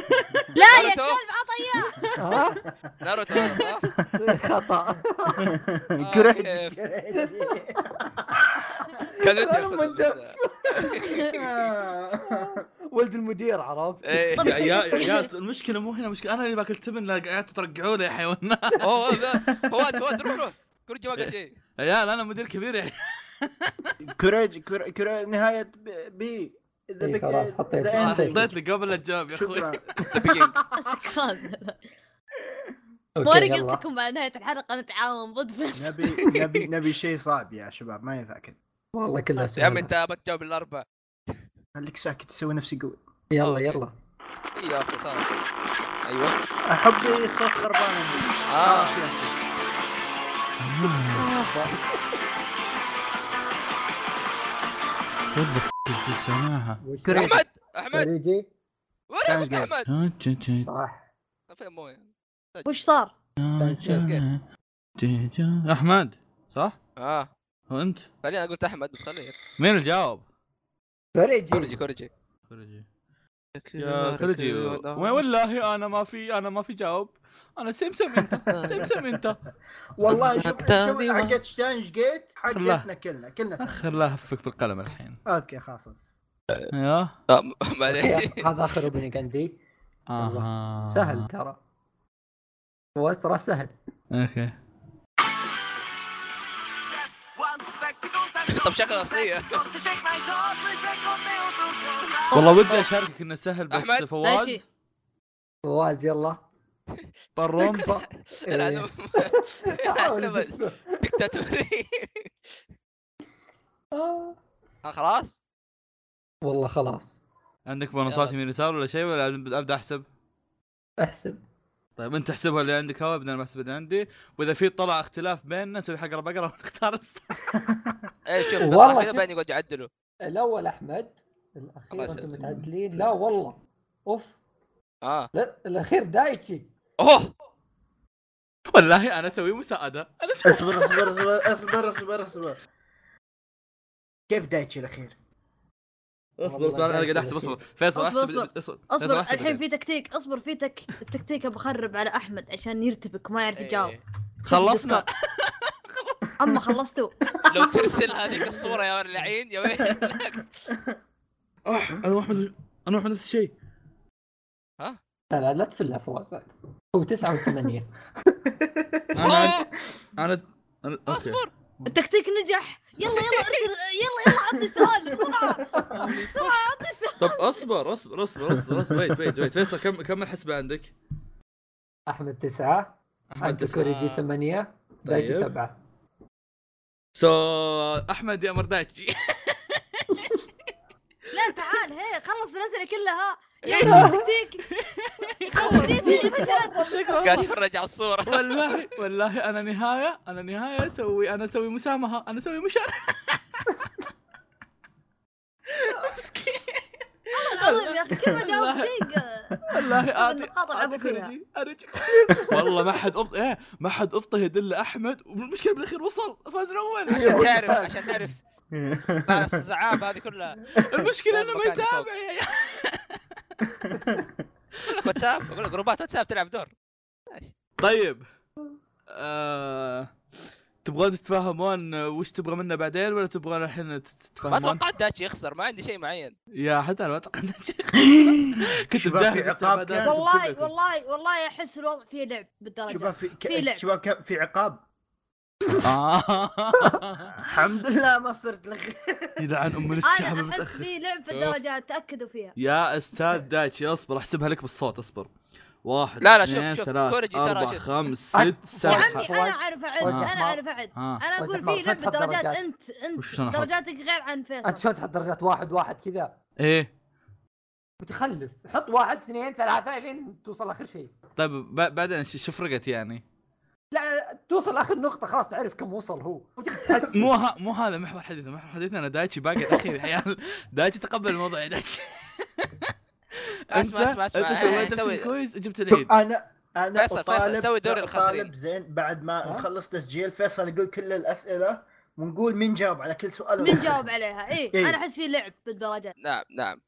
لا يا
ناروتو
كلب عطى اياه
ها
ناروتو هذا صح؟
خطا
كوريجي كوريجي
كان يدري
أنا
ياخذ
مندب.
ال-
ولد المدير عرفت
ايه
يا عيال يا عيال المشكله مو هنا مشكله انا اللي باكل تبن لا قاعد ترقعونه يا حيوانات
اوه أوه، لا. فواز فواز روح روح كوريجي ما قال شيء
يا عيال انا مدير كبير يا عيال.
كوريجي كوري- كوري- نهاية بي- بي ذا
إيه، خلاص، حطيت- حطيت.
حطيت لي قبل لا تجاوب يا اخوي
شكرا
سكران
اوكي
وانا
يلا
قلت لكم مع نهايه الحلقه نتعاون ضد فيصل
نبي نبي نبي شيء صعب يا شباب ما ينفع كذا
والله كلها
يا عمي
سهله
انت ما تجاوب الا اربع
خليك ساكت تسوي نفسي قوي
يلا يلا
اي إيه يا اخي صار ايوه
احبي صوت آه. خربان عندي.
آه.
اه
كنت سامعها
وش-
كريم.
احمد
طيب.
احمد
كوريجي
وين أبوك يا احمد
صح
فين مويه
وش صار؟
طيب،
Thanks, guys.
احمد صح؟
اه
هو انت؟
فعليا انا قلت احمد بس خليه
مين الجواب؟
كوريجي
كورجي كورجي
كوريجي يا كوريجي و-
وين
والله انا ما في انا ما في جواب انا سمسم انت سمسم انت
والله شوف
حتى
شوف
ديوان.
حقت شتاينش جيت
الله.
حقتنا كلنا كلنا
خل لا هفك بالقلم الحين
اوكي خلاص
ايوه
آه، معليش
هذا اخر اوبننج عندي
آه.
سهل ترى هو ترى سهل
اوكي
طب شغل اصليه
والله ودي اشاركك انه سهل بس
أحمد؟
فواز
ماشي.
فواز يلا
بروم
إيه.
العالم العالم
حاول.
دكتاتوري
آه.
آه، خلاص
والله خلاص
عندك بونصات
يلا.
يمين يسار ولا شيء ولا ابدا احسب
احسب
طيب انت احسبها اللي عندك هوا بدل ما احسب اللي عندي واذا في طلع اختلاف بيننا نسوي حقره بقره ونختار الصح.
ايه شوف
والله
والله كذا
شوف.
بعدين يقعد يعدله
الاول احمد الاخير
خلاص.
انتم متعدلين لا والله اوف
اه
لا الاخير دايتشي
اوه
والله انا اسوي مساعده انا اسوي
اصبر اصبر اصبر اصبر اصبر اصبر كيف دايتشي الاخير؟
اصبر اصبر انا قاعد احسب اصبر فيصل
أصبر،
احسب
أصبر. اصبر الحين في تكتيك اصبر في تك... تكتيك ابغى اخرب على احمد عشان يرتبك وما يعرف يجاوب
إيه.
خلصنا
اما خلصتوا
لو ترسل هذيك الصوره يا لعين يا ويلك
انا واحمد انا واحمد نفس الشيء
لا لا لا تفلها فواز هو تسعة وثمانية
انا عن- انا انا اوكي
اصبر
التكتيك نجح يلا يلا أرسل- يلا يلا عطني سؤال بسرعه بسرعه عطني سؤال
طب اصبر اصبر اصبر اصبر اصبر ويت ويت ويت فيصل كم كم الحسبه عندك؟
احمد تسعة انت
تسعة.
كوريجي ثمانية دايتشي
طيب.
سبعة
سو احمد يا مرداتشي
لا تعال هي خلص الاسئله كلها يلا التكتيك خلص جيتي فشلت
قاعد اتفرج على الصوره
والله والله انا نهايه انا نهايه اسوي انا اسوي مسامحه انا اسوي مشاركه مسكين
العظيم يا اخي كل ما جاوب شيء آه،
والله
طب
آتي
النقاط ألعبوا
آتي
فيها.
خرجي، أرجع. والله ما حد أض... ايه ما حد اضطهد الا احمد والمشكله بالاخير وصل فاز الاول
عشان تعرف عشان تعرف مع الزعابه هذه كلها
المشكله انه ما
مكاني فوق.
يتابع يا عيال.
أقول لك واتساب اقول لك جروبات واتساب تلعب دور
طيب آه... تبغون تتفاهمون وش تبغى منا بعدين ولا تبغون الحين تت-
ما
تتفاهمون؟
توقعت داتشي يخسر ما عندي شيء معين
يا حتى انا ما توقعت كنت
شباب، في
مجهز
عقاب
استعدادات
كان.
كلكم.
والله والله والله احس الوضع فيه لعب
شباب
بالدرجه
في
في لعب.
ك- شباب كان في عقاب
آه.
الحمد لله ما صرت لك
يلعن ام الاستجابه
انا احس
متاخر
فيه لعب في الدرجات تاكدوا فيها
يا استاذ دايتشي اصبر احسبها لك بالصوت اصبر واحد
لا، لا، شوف،
اثنين،
شوف،
ثلاث،
كوريجي ترى
اربع
شو-
خمس
أك-
ست
يا
يا
سبع
يعني
عمي،
عمي
سبع. آه.
انا اعرف اعد
فواز.
انا اعرف اعد
ها
انا
فواز
اقول
أحمد،
في لعب
خذ خذ
بالدرجات
درجات.
انت
وش
انت
شلون أخذ؟
درجاتك غير عن
انت
فيصل
شلون تحط درجات واحد واحد كذا
ايه
متخلف حط واحد اثنين ثلاثة لين توصل اخر شيء
طيب ب- بعدين ش- شوف رقت يعني
لا توصل اخر نقطة خلاص تعرف كم وصل هو تحس
مو ها مو هذا محور حديثنا محور حديثنا انا دايتشي باقي الاخير يا عيال دايتشي تقبل الموضوع يا دايتشي
اسمع،
أنت-
اسمع، اسمع.
انت سويت
سوي-
نفسك كويس جبت العيد
انا انا
طيب. فيصل، فيصل،
أطالب-
سوي دور
أطالب
الخاسرين.
زين بعد ما
ها؟
نخلص تسجيل فيصل يقول كل الاسئله ونقول مين جاوب على كل سؤال
من جاوب عليها اي
إيه.
انا احس في لعب بالدرجات
نعم نعم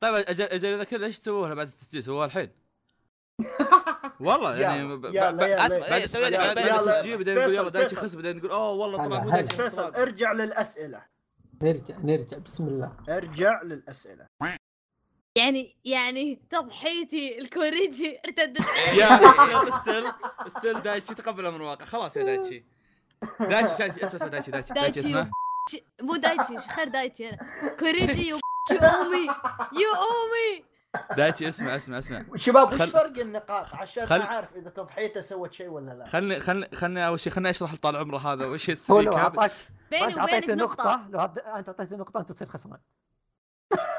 طيب اجل اجل اذا كذا ليش تسووها بعد التسجيل سووها الحين والله يعني ب- إيه؟ ب-
يلا،
ب-
يلا،
اسمع
يلا.
بعد
سوي
لي
بعد-
بين
بعد
السؤال.
التسجيل بعدين نقول
فيصل،
يلا دايتشي
فيصل.
خس بعدين نقول اوه والله طلع
هلا،
مو
هلا.
دايتشي خس
فيصل
طلع.
ارجع للاسئله
نرجع نرجع بسم الله
ارجع للاسئله
يعني يعني تضحيتي الكوريجي ارتدت
إيه.
يا أخي، السل السل دايتشي تقبل امر الواقع خلاص يا دايتشي دايتشي دايتشي اسمع اسمع دايتشي دايتشي دايتشي
دايتشي
اسمع
وبش- مو دايتشي خير دايتشي انا كوريجي يو امي يو امي
دايتشي اسمع اسمع اسمع
شباب وش
خل-
فرق النقاط عشان
خل-
ما اعرف اذا تضحيته سوت شيء ولا لا
خلني خلني خلني اول شيء خلني اشرح لطال عمره هذا وش
هو لو
السبيكر
اعطاك
بيني
انت
وبينك
اعطيته
نقطة
نقطة لو عط- انت اعطيته نقطة انت تصير خسران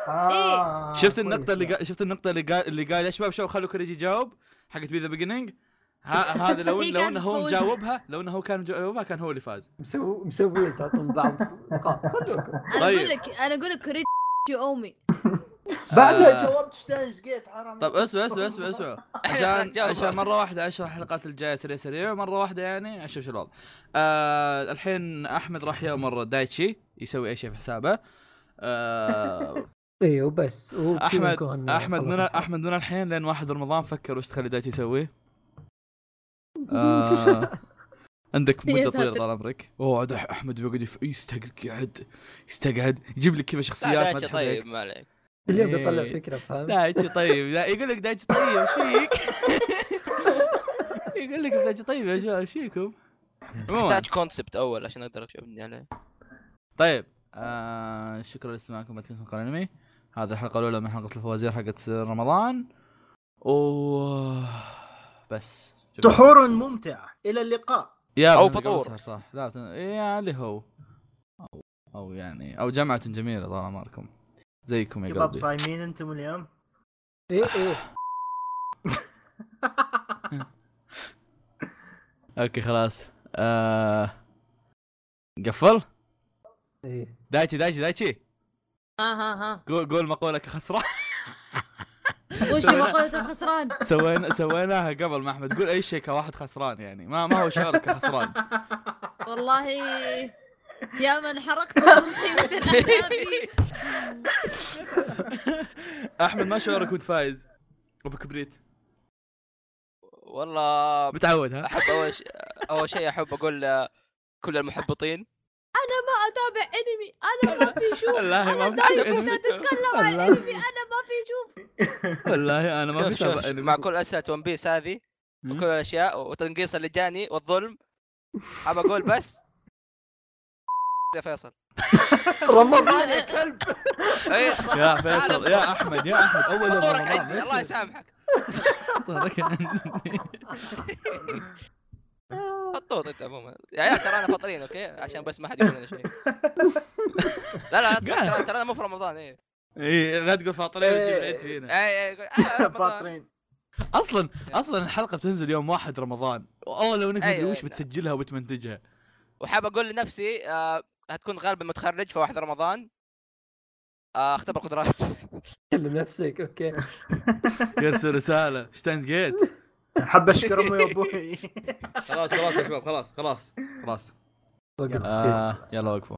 آه،
شفت
كويس.
النقطة اللي قا... شفت النقطة اللي قال اللي قال يا شباب شباب خلوا كوريجي يجاوب حقت بي ذا بيجنينج هذا لو
هي
لو
كانت
انه هو
مفوزة.
مجاوبها لو انه هو كان مجاوبها كان هو اللي فاز
مسوي مسويين تعطون بعض نقاط خلوكم
انا
طيب.
اقول لك انا اقول لك كوريجي شو اومي
بعدها
آه.
جاوبت شتاينز جيت حرام
طب اسمع اسمع اسمع اسمع
خلاص
عشان
جاوب.
عشان مره واحده اشرح الحلقات الجايه سريع سريع ومره واحده يعني اشوف شو الوضع. آه الحين احمد راح يامر دايتشي يسوي اي شيء في حسابه. آه
اي إيه، وبس وبكذا
احمد
نكون
احمد من
خلصنا.
احمد من الحين لين واحد رمضان فكر وش تخلي دايتشي يسوي. آه عندك
إيه،
يا
مده
ساتر.
طويله طال عمرك. اوه عاد احمد بيقعد يف- يستقعد يقعد- يستقعد يجيب لك كذا شخصيات ما
دايتشي
تحب لك.
طيب ما عليك
كل يوم بيطلع
إيه.
فكره فاهم
دايتشي طيب لا يقول لك دايتشي طيب ايش فيك؟ يقول لك دايتشي طيب يا شباب ايش فيكم؟ عموما
تحتاج كونسبت اول عشان اقدر اشوفني عليه
طيب آه شكرا لاستماعكم بودكاست مقال انمي هذه الحلقه الاولى من حلقه الفوازير حقت رمضان و بس شكراً.
سحور ممتعه الى اللقاء
يا
أو
بنت
فطور.
قبل سهر صح لا تن... يا اللي هو أو- او يعني او جمعه جميله طال عمركم زيكم يا
شباب
قلبي
صايمين انتم اليوم
اي اي
اوكي خلاص آه... قفل
اي
دايتشي دايتشي دايتشي
ها ها ها
قول قول مقولك خسران
وش مقولة الخسران؟
سوينا سويناها قبل ما احمد قول اي شيء كواحد خسران يعني ما ما هو شعورك كخسران
والله يا من حرقت مخي وتنادي
احمد ما شعورك وانت فايز وبكبريت
والله
بتعود ها
احب اول شيء اول شيء احب اقول كل المحبطين
ما اتابع انمي انا ما في شوف
والله ما في
دايما
شيء
كنت
أنمي.
تتكلم عن
الله.
الانمي انا ما في شوف
والله انا ما
شوف
في
شوف
تابع أنمي.
مع كل اسئله ون بيس هذه
مم.
وكل الاشياء وتنقيص اللي جاني والظلم ابى اقول بس يا فيصل
رمضان يا كلب
اي صح
يا فيصل يا احمد يا احمد اول يوم
دورك
رمضان
عندي
ليش
الله يسامحك
طورك عندي.
حطوط انت عموما يا عيال ترى انا فاطرين اوكي عشان بس ما حد يقول لنا شيء لا لا لا تصح، ترى- ترى انا مو في رمضان اي
اي لا تقول فاطرين وتجيب العيد فينا
اي يقول آه، رمضان.
فاطرين
اصلا اصلا الحلقه بتنزل يوم واحد رمضان والله لو انك
أيوة،
مدري وش
أيوة.
بتسجلها وبتمنتجها
وحاب اقول لنفسي آه، هتكون غالبا متخرج في واحد رمضان آه، اختبر قدرات
كلم نفسك اوكي
يرسل رساله شتاينز جيت
حاب اشكر امي وابوي
خلاص خلاص يا شباب خلاص خلاص خلاص
وقف
آه يلا وقفوا